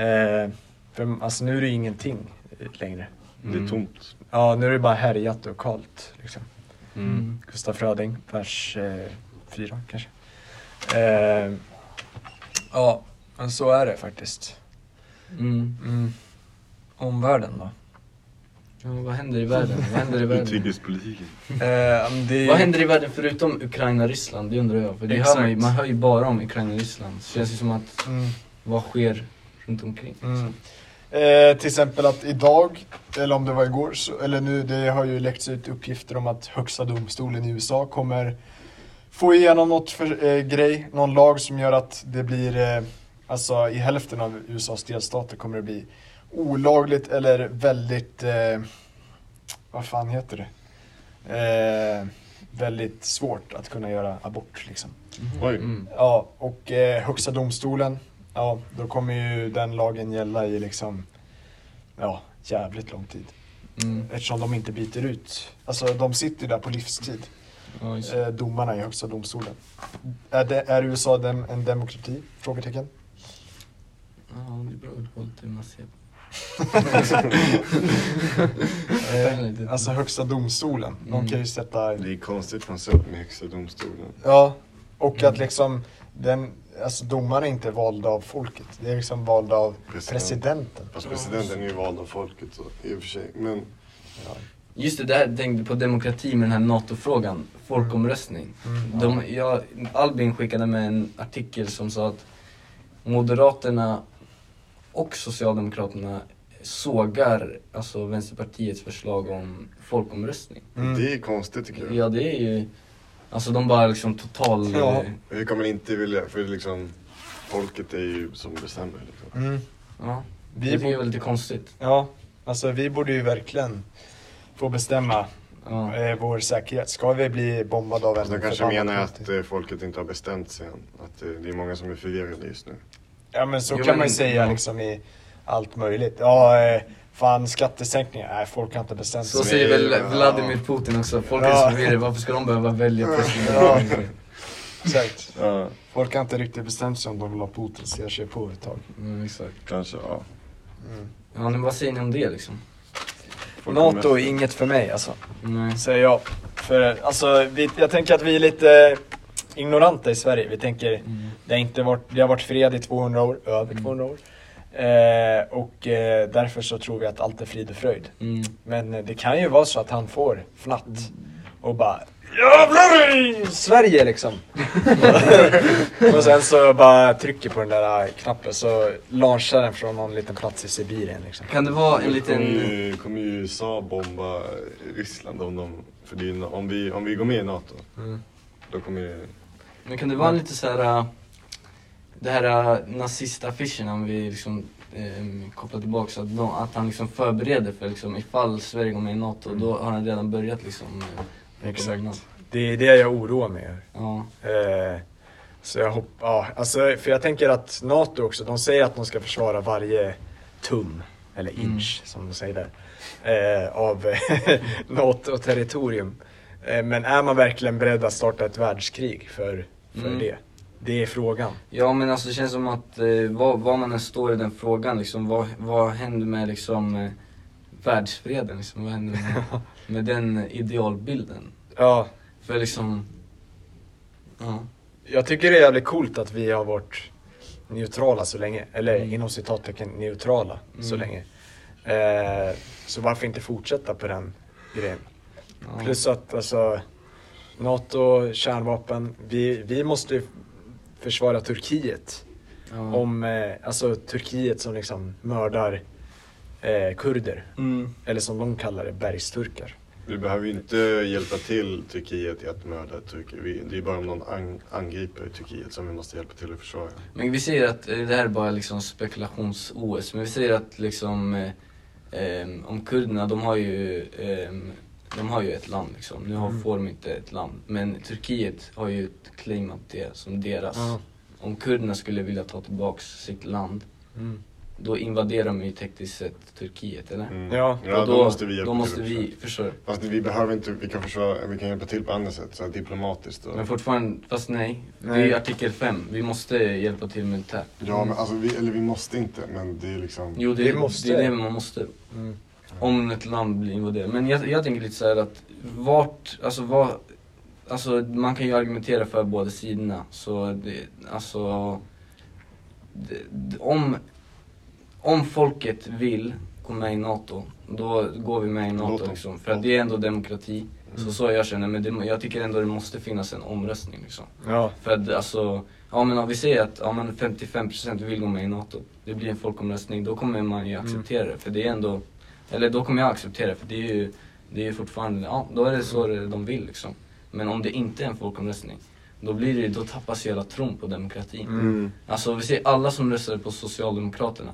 [SPEAKER 1] Eh, för, alltså nu är det ju ingenting eh, längre.
[SPEAKER 2] Det är tomt.
[SPEAKER 1] Ja, nu är det bara härjat och kallt liksom.
[SPEAKER 3] Mm.
[SPEAKER 1] Gustaf Fröding, vers eh, fyra kanske. Eh, ja, men så är det faktiskt.
[SPEAKER 3] Mm.
[SPEAKER 1] Mm. Omvärlden då?
[SPEAKER 3] Ja, vad händer i världen? Vad händer i världen?
[SPEAKER 2] Utrikespolitiken.
[SPEAKER 1] Eh, det...
[SPEAKER 3] Vad händer i världen förutom Ukraina-Ryssland? Det undrar jag. För det hör man, ju,
[SPEAKER 1] Exakt.
[SPEAKER 3] man hör ju bara om Ukraina-Ryssland. Så det känns ju som att,
[SPEAKER 1] Mm,
[SPEAKER 3] vad sker runt omkring?
[SPEAKER 1] mm.
[SPEAKER 7] Eh, till exempel att idag, eller om det var igår, så, eller nu, det har ju läckts ut uppgifter om att högsta domstolen i USA kommer få igenom något för, eh, grej, någon lag som gör att det blir, eh, alltså i hälften av USAs delstater kommer det bli olagligt eller väldigt, eh, vad fan heter det? Eh, väldigt svårt att kunna göra abort liksom.
[SPEAKER 2] Oj.
[SPEAKER 3] Mm.
[SPEAKER 7] Ja, och eh, Högsta domstolen, ja, då kommer ju den lagen gälla i liksom, ja, jävligt lång tid.
[SPEAKER 3] Mm.
[SPEAKER 7] Eftersom de inte byter ut, alltså de sitter ju där på livstid,
[SPEAKER 3] Ja, just.
[SPEAKER 7] eh, domarna i Högsta domstolen. Är, det, är USA dem, en demokrati? Frågetecken.
[SPEAKER 3] ja, det är bra uppehåll till man ser.
[SPEAKER 7] Eh, alltså Högsta domstolen,
[SPEAKER 3] Mm.
[SPEAKER 7] de kan ju sätta...
[SPEAKER 2] Det är konstigt man ser upp med Högsta domstolen.
[SPEAKER 7] Ja, och att liksom den, alltså domarna är inte valda av folket, det är liksom valda av
[SPEAKER 2] President.
[SPEAKER 7] presidenten.
[SPEAKER 2] Fast
[SPEAKER 6] Presidenten är ju vald av folket så, i och för sig. Men
[SPEAKER 3] Just det, där tänkte jag på demokrati med den här NATO-frågan. Folkomröstning.
[SPEAKER 7] Mm.
[SPEAKER 3] De, jag, Albin skickade med en artikel som sa att Moderaterna och Socialdemokraterna sågar alltså Vänsterpartiets förslag om folkomröstning.
[SPEAKER 7] Mm.
[SPEAKER 2] Det är konstigt tycker jag.
[SPEAKER 3] Ja, det är ju... Alltså de bara liksom total...
[SPEAKER 7] Ja.
[SPEAKER 2] Hur kan man inte vilja? För liksom, folket är ju som bestämmer. Liksom.
[SPEAKER 1] Mm.
[SPEAKER 3] ja.
[SPEAKER 1] Vi
[SPEAKER 3] det är
[SPEAKER 1] bo-
[SPEAKER 3] väl lite konstigt.
[SPEAKER 1] Ja, alltså vi borde ju verkligen få bestämma
[SPEAKER 3] Ja.
[SPEAKER 1] eh, vår säkerhet. Ska vi bli bombade av en
[SPEAKER 2] Fast de kanske
[SPEAKER 1] förbannad
[SPEAKER 2] menar att
[SPEAKER 1] konflikt?
[SPEAKER 2] eh, folket inte har bestämt sig än. Att eh, det är många som är förvirrade just nu.
[SPEAKER 1] Ja men så
[SPEAKER 3] Jo,
[SPEAKER 1] kan
[SPEAKER 3] men-
[SPEAKER 1] man ju säga
[SPEAKER 3] ja.
[SPEAKER 1] liksom i allt möjligt. Ja, eh, fan skattesänkningar. Nej, folk har inte bestämt
[SPEAKER 3] Så
[SPEAKER 1] sig.
[SPEAKER 3] säger
[SPEAKER 2] Ja.
[SPEAKER 3] väl Vladimir Putin också. Folk är
[SPEAKER 1] Ja.
[SPEAKER 3] så förvirrade, varför ska de behöva välja
[SPEAKER 1] Ja.
[SPEAKER 3] president?
[SPEAKER 1] Exakt.
[SPEAKER 2] Ja,
[SPEAKER 7] Folk har inte riktigt bestämt sig om de vill ha Putin så jag kör på ett tag.
[SPEAKER 3] Mm, exakt.
[SPEAKER 2] kanske. Ja.
[SPEAKER 1] Mm.
[SPEAKER 3] Ja, men vad säger ni om det liksom?
[SPEAKER 1] NATO är inget för mig alltså.
[SPEAKER 3] Nej.
[SPEAKER 1] Säger jag. eh,
[SPEAKER 3] Mm.
[SPEAKER 1] För alltså, vi, jag tänker att vi är lite ignoranta i Sverige. Vi tänker, Det har, inte varit, det har varit fred i 200 år, över 200 år. Eh, och eh, därför så tror vi att allt är frid och fröjd.
[SPEAKER 3] Mm.
[SPEAKER 1] Men eh, det kan ju vara så att han får fnatt och bara Jävlar i Sverige liksom! och sen så bara trycker på den där eh, knappen så launchar den från någon liten plats i Sibirien liksom.
[SPEAKER 3] Kan det vara en
[SPEAKER 2] Nu kommer
[SPEAKER 3] liten...
[SPEAKER 2] ju- kommer ju USA bomba Ryssland om de... För det är, ju na- om, vi, om vi går med i NATO, då kommer ju...
[SPEAKER 3] Men kan det vara lite så här äh, det här äh, nazistaffischen om vi liksom ehm, kopplar tillbaka så att, de, att han liksom förbereder för liksom ifall Sverige går med i NATO då har han redan börjat liksom eh, på
[SPEAKER 1] Exakt.
[SPEAKER 3] banan.
[SPEAKER 1] Det är det jag oroar mig över.
[SPEAKER 3] Ja.
[SPEAKER 1] Eh, så jag hoppas, ja, alltså, för jag tänker att NATO också, de säger att de ska försvara varje tum, eller inch som de säger där, eh, av NATO-territorium. Eh, men är man verkligen beredd att starta ett världskrig för, för
[SPEAKER 3] Mm.
[SPEAKER 1] det? Det är frågan.
[SPEAKER 3] ja men alltså det känns som att eh, var, var man än står i den frågan liksom vad, vad händer med liksom eh, världsfreden liksom? Vad händer med, med den idealbilden?
[SPEAKER 1] Ja,
[SPEAKER 3] För liksom... Ja.
[SPEAKER 1] jag tycker det är jävligt coolt att vi har varit neutrala så länge, eller inom citattecken neutrala så länge. Eh, så varför inte fortsätta på den grejen?
[SPEAKER 3] ja.
[SPEAKER 1] Plus att alltså, NATO, kärnvapen. Vi, vi måste ju försvara Turkiet.
[SPEAKER 3] ja.
[SPEAKER 1] Om, eh, alltså Turkiet som liksom mördar eh, kurder.
[SPEAKER 3] Mm.
[SPEAKER 1] Eller som de kallar det, bergsturkar.
[SPEAKER 2] Vi behöver ju inte hjälpa till Turkiet i att mörda Turkiet. Vi, det är bara om någon ang, angriper Turkiet som vi måste hjälpa till att försvara.
[SPEAKER 3] Men vi säger att, eh, det här är bara liksom spekulations-OS, men vi säger att liksom eh, ehm, om kurderna, de har ju ehm, de har ju ett land liksom. Nu
[SPEAKER 1] Mm.
[SPEAKER 3] har, får de inte ett land. Men Turkiet har ju claimat det som deras.
[SPEAKER 1] Ja.
[SPEAKER 3] Om kurderna skulle vilja ta tillbaks sitt land,
[SPEAKER 1] Mm.
[SPEAKER 3] då invaderar de ju tekniskt sett Turkiet, eller?
[SPEAKER 2] Mm.
[SPEAKER 1] Ja,
[SPEAKER 2] ja,
[SPEAKER 3] Och
[SPEAKER 2] då, måste vi hjälpa
[SPEAKER 3] då måste
[SPEAKER 2] till att
[SPEAKER 3] vi
[SPEAKER 2] försvara.
[SPEAKER 3] försörja.
[SPEAKER 2] Fast vi behöver inte, vi kan, försvara, vi kan hjälpa till på andra sätt, så här diplomatiskt. Och,
[SPEAKER 3] Men fortfarande, fast nej. Det är
[SPEAKER 1] Nej.
[SPEAKER 3] ju artikel 5. Vi måste hjälpa till militärt.
[SPEAKER 6] Ja, men alltså vi, eller vi måste inte, men det är liksom...
[SPEAKER 3] Jo, det,
[SPEAKER 1] Vi måste.
[SPEAKER 3] det är det man måste.
[SPEAKER 1] Mm.
[SPEAKER 3] Om ett land blir invaderat. Men jag, jag tänker lite så här att vart, alltså vad, alltså man kan ju argumentera för båda sidorna. Så det, alltså, det, det- om, om folket vill gå med i NATO, då går vi med i
[SPEAKER 2] Låt
[SPEAKER 3] NATO
[SPEAKER 2] dem.
[SPEAKER 3] liksom. För att det är ändå demokrati. Så så jag känner, men det, jag tycker ändå det måste finnas en omröstning liksom.
[SPEAKER 1] Ja.
[SPEAKER 3] För att alltså, ja men om vi säger att ja, men 55% vill gå med i NATO, det blir en folkomröstning, då kommer man ju acceptera det. För det är ändå, eller då kommer jag acceptera det, för det är ju, det är ju fortfarande, ja då är det så det- de vill liksom. Men om det inte är en folkomröstning, då blir det ju- då tappas ju hela tron på demokratin.
[SPEAKER 2] Mm.
[SPEAKER 3] Alltså vi ser alla som röstade på Socialdemokraterna,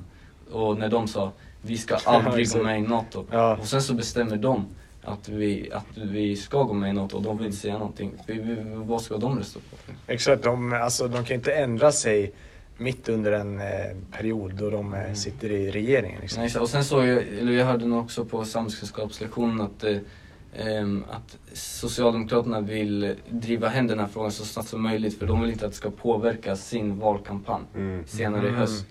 [SPEAKER 3] och när de sa vi ska aldrig gå med i NATO.
[SPEAKER 1] Ja.
[SPEAKER 3] Och sen så bestämmer de att vi, att vi ska gå med i NATO och de vill inte säga någonting. Vi, vi, vad ska de rösta på?
[SPEAKER 1] Exakt, de, alltså, de kan ju inte ändra sig mitt under en eh, period då de eh, sitter i regeringen. Liksom.
[SPEAKER 3] Mm. Nej, så- och sen såg jag, eller jag hörde nog också på samhällskunskapslektionen att, eh, ehm, att Socialdemokraterna vill driva hem den här frågan så snabbt som möjligt för de vill inte att det ska påverka sin valkampanj
[SPEAKER 2] Mm.
[SPEAKER 3] senare i
[SPEAKER 1] Mm.
[SPEAKER 3] höst.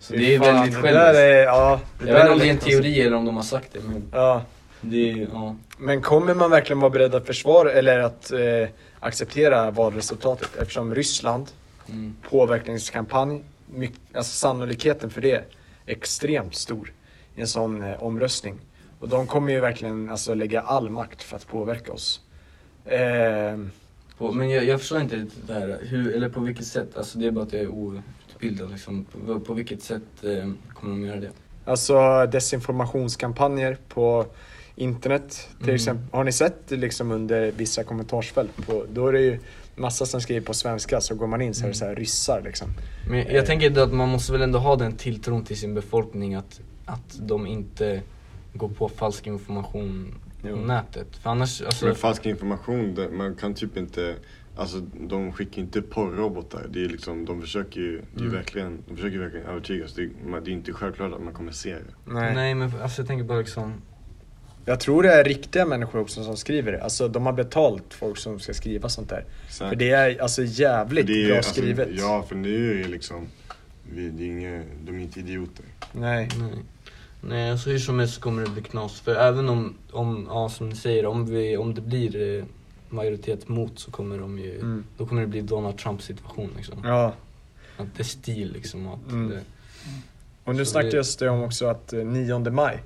[SPEAKER 3] Så
[SPEAKER 1] Fy
[SPEAKER 3] det är
[SPEAKER 1] fan,
[SPEAKER 3] väldigt
[SPEAKER 1] det där
[SPEAKER 3] själviskt.
[SPEAKER 1] är, ja, det där
[SPEAKER 3] Jag vet inte om det är en
[SPEAKER 1] lätt,
[SPEAKER 3] teori eller om de har sagt det men
[SPEAKER 1] alltså. Ja.
[SPEAKER 3] det är ju, ja.
[SPEAKER 1] Men kommer man verkligen vara beredd att försvara eller att eh, acceptera valresultatet eftersom Ryssland
[SPEAKER 3] Mm.
[SPEAKER 1] påverkningskampanj, my- alltså sannolikheten för det är extremt stor i en sån eh, omröstning. Och de kommer ju verkligen alltså, lägga all makt för att påverka oss. Eh,
[SPEAKER 3] På, men jag, jag förstår inte riktigt det här, hur, eller på vilket sätt, alltså det är bara att jag är outbildad liksom. På, på vilket sätt eh, kommer de göra det?
[SPEAKER 1] alltså desinformationskampanjer på internet till
[SPEAKER 3] Mm.
[SPEAKER 1] exempel. Har ni sett det liksom under vissa kommentarsfält? På, då är det ju massa som skriver på svenska så går man in så är det så här ryssar liksom.
[SPEAKER 3] Men jag tänker att man måste väl ändå ha den tilltron till sin befolkning att, att de inte går på falsk information på
[SPEAKER 1] Jo.
[SPEAKER 3] nätet. För annars, alltså,
[SPEAKER 2] Men falsk information, det- man kan typ inte... Alltså de skickar inte porrobotar. Det är liksom, de försöker ju det är
[SPEAKER 3] Mm.
[SPEAKER 2] ju verkligen, de försöker ju verkligen övertyga oss. Det är, man- det är inte självklart att man kommer se det.
[SPEAKER 3] nej. men alltså, jag tänker bara liksom,
[SPEAKER 1] Jag tror det är riktiga människor också som skriver det. Alltså de har betalt folk som ska skriva sånt där.
[SPEAKER 2] Exakt.
[SPEAKER 1] För det är alltså jävligt
[SPEAKER 2] Det är ju-
[SPEAKER 1] bra
[SPEAKER 2] alltså,
[SPEAKER 1] skrivet.
[SPEAKER 2] Ja, för nu är det liksom... Vi, det är inga, de är inte idioter.
[SPEAKER 1] Nej.
[SPEAKER 3] nej. Nej, alltså hur som helst så kommer det bli knas. För även om, om ja som ni säger, om, vi, om det blir eh, majoritet mot så kommer de ju,
[SPEAKER 1] Mm.
[SPEAKER 3] då kommer det bli Donald Trumps situation liksom.
[SPEAKER 1] Ja.
[SPEAKER 3] Att det är stil liksom. Att
[SPEAKER 1] Mm.
[SPEAKER 3] det,
[SPEAKER 1] Och nu
[SPEAKER 3] Så
[SPEAKER 1] snackas det om också att eh, 9 maj,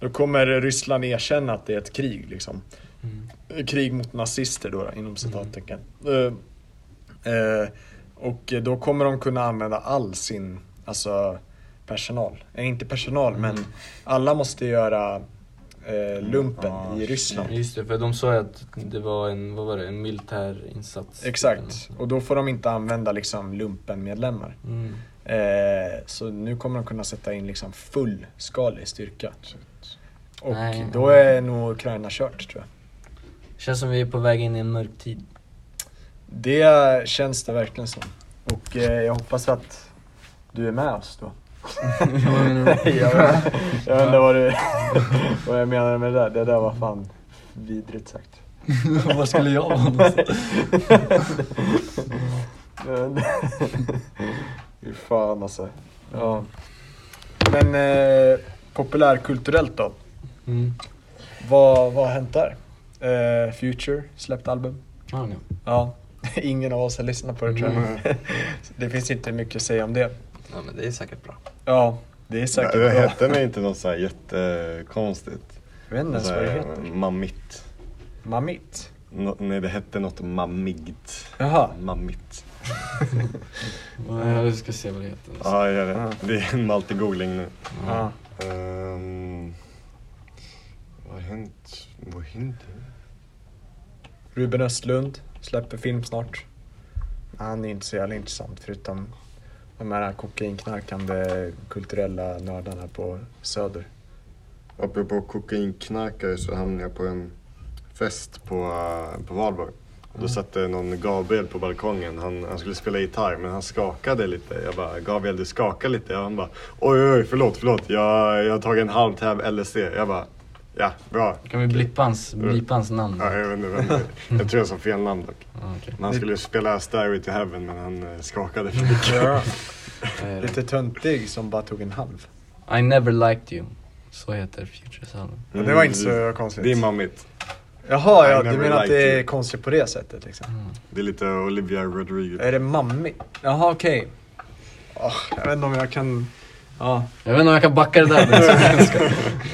[SPEAKER 1] då kommer Ryssland erkänna att det är ett krig liksom.
[SPEAKER 4] Mm.
[SPEAKER 1] Eh, Krig mot nazister då, inom citattecken. Eh, eh, och då kommer de kunna använda all sin, alltså personal. Eh, inte personal, men alla måste göra eh, lumpen
[SPEAKER 2] Ah,
[SPEAKER 1] i Ryssland.
[SPEAKER 3] just det, för de sa ju att det var en, vad var det, en militär insats.
[SPEAKER 1] Exakt, och då får de inte använda liksom lumpenmedlemmar.
[SPEAKER 3] Mm.
[SPEAKER 1] Eh, så nu kommer de kunna sätta in liksom fullskalig styrka. Och
[SPEAKER 3] Nej,
[SPEAKER 1] då
[SPEAKER 3] nej.
[SPEAKER 1] är nog Ukraina kört tror jag.
[SPEAKER 3] Känns som vi är på väg in i en mörk tid.
[SPEAKER 1] Det känns det verkligen som. Och eh, jag hoppas att du är med oss då. jag vet- jag vet inte vad, du, vad jag menade med det där. Det där var fan vidrigt sagt.
[SPEAKER 4] Var skulle jag vara någonstans?
[SPEAKER 1] Men- Fy fan alltså. Ja. Men eh, populärkulturellt då?
[SPEAKER 4] Mm.
[SPEAKER 1] Vad, vad har hänt där? Eh, Future släppt album.
[SPEAKER 4] Ja, nej.
[SPEAKER 1] Ja. Ingen av oss har lyssnat på det tror
[SPEAKER 4] Mm.
[SPEAKER 1] jag. Så det finns inte mycket att säga om det.
[SPEAKER 4] Ja, men det är säkert bra.
[SPEAKER 1] Ja, det är säkert
[SPEAKER 2] det
[SPEAKER 1] bra.
[SPEAKER 2] hette mig inte något så här jättekonstigt?
[SPEAKER 1] Jag vet inte ens
[SPEAKER 2] Så
[SPEAKER 1] vad det
[SPEAKER 2] här,
[SPEAKER 1] heter.
[SPEAKER 2] Mammigt.
[SPEAKER 1] Mamit?
[SPEAKER 2] Nå- nej, det hette något mammigt.
[SPEAKER 1] Jaha.
[SPEAKER 2] Mammigt.
[SPEAKER 3] Ja, vi ska se vad det heter.
[SPEAKER 2] Ja, jag gör det. Det är en multi-googling nu.
[SPEAKER 1] Ja.
[SPEAKER 2] Ehm, vad har hänt? Vad har hänt?
[SPEAKER 1] Ruben Östlund släpper film snart. Han är inte så jävla intressant förutom de här kokainknarkande kulturella nördarna på Söder.
[SPEAKER 2] Apropå kokainknarkare så hamnade jag på en fest på, eh, på Valborg. Och
[SPEAKER 1] Mm.
[SPEAKER 2] då satt det någon Gabriel på balkongen. Han, han skulle spela gitarr men han skakade lite. Jag bara, Gabriel du skakar lite. Och han bara, oj oj oj förlåt förlåt. Jag, jag har tagit en halv tab LSD. Jag bara, ja bra.
[SPEAKER 3] Kan vi blippa hans, blippa hans namn?
[SPEAKER 2] Ja, jag, vet inte, vem det är.
[SPEAKER 1] Mm.
[SPEAKER 2] jag tror jag sa fel namn dock.
[SPEAKER 3] Ja, okej.
[SPEAKER 2] Men Han skulle spela Stairway to Heaven men han eh, skakade
[SPEAKER 1] Mm.
[SPEAKER 2] för mycket.
[SPEAKER 1] Lite töntig som bara tog en halv.
[SPEAKER 3] I never liked you. Så heter Futures album.
[SPEAKER 1] Men det var inte så konstigt.
[SPEAKER 2] Mm, Det är mammigt.
[SPEAKER 1] Jaha, ja,
[SPEAKER 2] I
[SPEAKER 1] du
[SPEAKER 2] never
[SPEAKER 1] menar att
[SPEAKER 2] liked
[SPEAKER 1] det är
[SPEAKER 2] you.
[SPEAKER 1] konstigt på det sättet liksom?
[SPEAKER 2] Det är lite Olivia Rodrigo.
[SPEAKER 1] Är det mammi? Jaha, okej. Ah, jag vet inte om jag kan... Ja.
[SPEAKER 3] Jag vet inte om jag kan backa det där.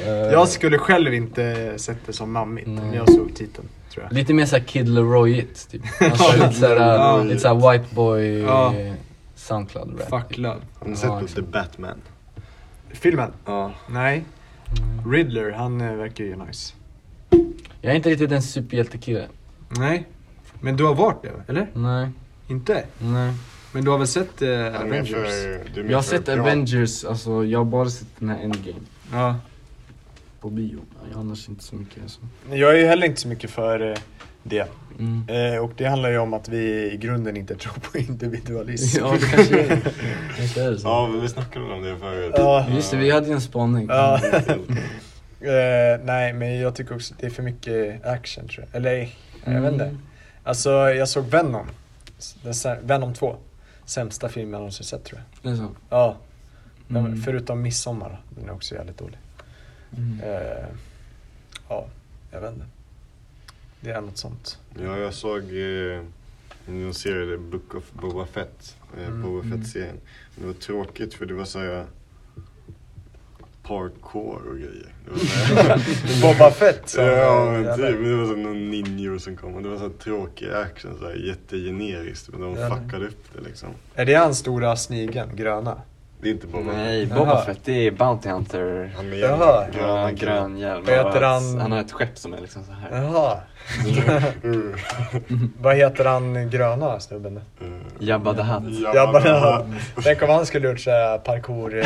[SPEAKER 3] men-
[SPEAKER 1] Jag skulle själv inte sett det som mammigt om
[SPEAKER 3] Nej.
[SPEAKER 1] jag såg titeln, tror jag.
[SPEAKER 3] Lite mer såhär Kid Leroy-igt typ. Alltså, lite såhär, lite såhär white boy typ.
[SPEAKER 1] Ja.
[SPEAKER 3] Soundcloud-rap.
[SPEAKER 1] Fuck love.
[SPEAKER 2] Har ni sett
[SPEAKER 3] Ja,
[SPEAKER 2] på
[SPEAKER 3] exakt.
[SPEAKER 2] The Batman?
[SPEAKER 1] Filmen?
[SPEAKER 2] Ja.
[SPEAKER 1] Nej. Riddler, han eh, verkar ju nice.
[SPEAKER 3] Jag är inte riktigt en superhjältekille.
[SPEAKER 1] Nej. Men du har varit det, eller?
[SPEAKER 3] Nej,
[SPEAKER 1] Inte?
[SPEAKER 3] nej.
[SPEAKER 1] Men du har väl sett eh,
[SPEAKER 2] Du är med för-
[SPEAKER 1] Avengers?
[SPEAKER 2] du är med
[SPEAKER 3] Jag har
[SPEAKER 2] för
[SPEAKER 3] sett
[SPEAKER 2] pirat.
[SPEAKER 3] Avengers, alltså jag har bara sett den här Endgame
[SPEAKER 1] Ja.
[SPEAKER 3] på bio. Annars inte så mycket alltså.
[SPEAKER 1] Jag är ju heller inte så mycket för eh, det.
[SPEAKER 3] Mm.
[SPEAKER 1] Eh, och det handlar ju om att vi i grunden inte tror på individualism.
[SPEAKER 3] Ja, det kanske är, kanske är det så.
[SPEAKER 2] Ja, men vi snackade väl om det förut.
[SPEAKER 1] Ja.
[SPEAKER 3] Just det, vi hade ju en spaning.
[SPEAKER 1] Ja. Eh, nej, men jag tycker också att det är för mycket action tror jag. Eller jag vet inte.
[SPEAKER 3] Mm.
[SPEAKER 1] Alltså, jag såg Venom. Den, sä- Venom 2. Sämsta filmen jag någonsin sett tror jag.
[SPEAKER 3] Det är så.
[SPEAKER 1] Ja, den-
[SPEAKER 3] Mm.
[SPEAKER 1] förutom Midsommar. Den är också jävligt dålig.
[SPEAKER 3] Mm.
[SPEAKER 1] Eh, ja, jag vet inte. Det är något sånt.
[SPEAKER 2] Ja, jag såg eh, någon serie, The Book of Boba Fett. Eh,
[SPEAKER 1] Mm.
[SPEAKER 2] Boba Fett-serien. Det var tråkigt för det var såhär parkour och grejer. Det var såhär,
[SPEAKER 1] Boba Fett! sa-
[SPEAKER 2] ja, men
[SPEAKER 1] jävlar.
[SPEAKER 2] typ. Men det var såhär någon ninjor som kom och det var såhär tråkig action, såhär jättegeneriskt. Men de
[SPEAKER 1] Ja.
[SPEAKER 2] fuckade upp det liksom.
[SPEAKER 1] Är det han stora snigeln, gröna?
[SPEAKER 2] Det är inte Boba
[SPEAKER 5] Nej,
[SPEAKER 2] Fett.
[SPEAKER 1] Jaha.
[SPEAKER 5] Boba Fett, det är Bounty Hunter.
[SPEAKER 2] Han med
[SPEAKER 1] Jaha.
[SPEAKER 2] gröna
[SPEAKER 5] Grön,
[SPEAKER 2] killen.
[SPEAKER 5] grön hjälm.
[SPEAKER 1] Vad heter
[SPEAKER 5] Och att-
[SPEAKER 1] han?
[SPEAKER 5] Han har ett skepp som är liksom så här.
[SPEAKER 1] Jaha. Vad heter han gröna snubben?
[SPEAKER 2] Eh,
[SPEAKER 5] Jabba the Hutt.
[SPEAKER 1] Jabba the
[SPEAKER 2] Hutt.
[SPEAKER 1] Hutt. Tänk om han skulle gjort såhär parkour... eh,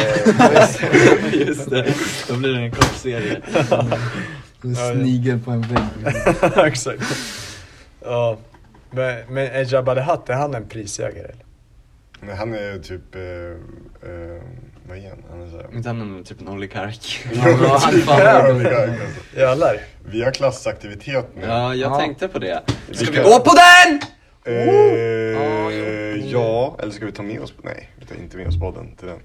[SPEAKER 5] Just det, då blir det en kort serie.
[SPEAKER 4] En
[SPEAKER 1] Ja, ja.
[SPEAKER 4] snigel på en vägg.
[SPEAKER 1] Exakt. Ja. Men, men är Jabba the Hutt, är han en prisjägare? Eller?
[SPEAKER 2] Nej, han är typ... Eh, eh, vad är han? Han är såhär...
[SPEAKER 5] Inte han är typ en oligark.
[SPEAKER 2] Ja,
[SPEAKER 3] han
[SPEAKER 2] typ
[SPEAKER 3] fan
[SPEAKER 2] här
[SPEAKER 1] är
[SPEAKER 2] har vi igång, alltså.
[SPEAKER 1] Jävlar.
[SPEAKER 2] Vi har klassaktivitet nu.
[SPEAKER 5] Ja, jag tänkte på det.
[SPEAKER 2] Ska vi
[SPEAKER 5] Gå på den!
[SPEAKER 2] Eh,
[SPEAKER 5] Ja,
[SPEAKER 2] ja, eller ska vi ta med oss... Nej, vi tar inte med oss podden till den.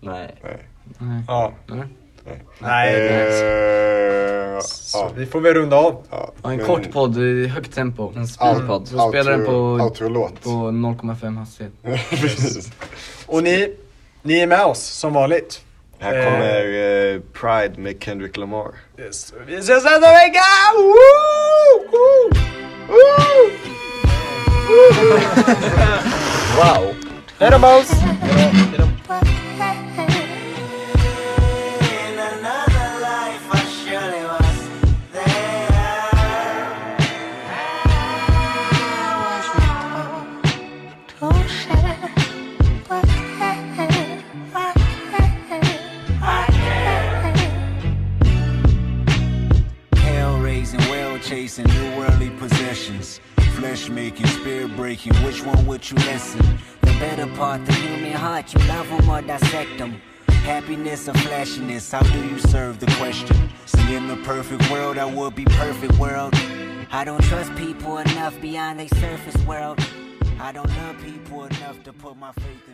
[SPEAKER 5] Nej.
[SPEAKER 2] Nej.
[SPEAKER 3] Nej.
[SPEAKER 1] Ja.
[SPEAKER 3] Eller?
[SPEAKER 1] Nej, nej.
[SPEAKER 2] Eh,
[SPEAKER 1] Så
[SPEAKER 2] ja,
[SPEAKER 1] vi får väl runda av.
[SPEAKER 2] ja,
[SPEAKER 3] Ja, en
[SPEAKER 2] men-
[SPEAKER 3] kort podd i högt tempo. En
[SPEAKER 2] Out-
[SPEAKER 3] speedpodd. Vi spelar den
[SPEAKER 2] outro-
[SPEAKER 3] på,
[SPEAKER 2] Outro-låt.
[SPEAKER 3] på 0,5 hastighet.
[SPEAKER 2] Precis.
[SPEAKER 1] Och ni, ni är med oss som vanligt.
[SPEAKER 2] Här
[SPEAKER 1] Eh.
[SPEAKER 2] kommer eh, Pride med Kendrick Lamar.
[SPEAKER 1] Yes. Vi ses nästa vecka! Woo! Woo! Woo!
[SPEAKER 3] Wow!
[SPEAKER 1] Hej då, Måns!
[SPEAKER 8] In another life, I surely was there.
[SPEAKER 9] I was told to share, but I can't, I can't, I can't.
[SPEAKER 8] Hell raising, whale chasing, new worldly possessions. Flesh making, spirit breaking, which one would you listen?
[SPEAKER 10] The better part, the human heart, you love 'em or dissect 'em. Happiness or flashiness, how do you serve the question? See, in the perfect world, I would be perfect world. I don't trust people enough beyond their surface world. I don't love people enough to put my faith in.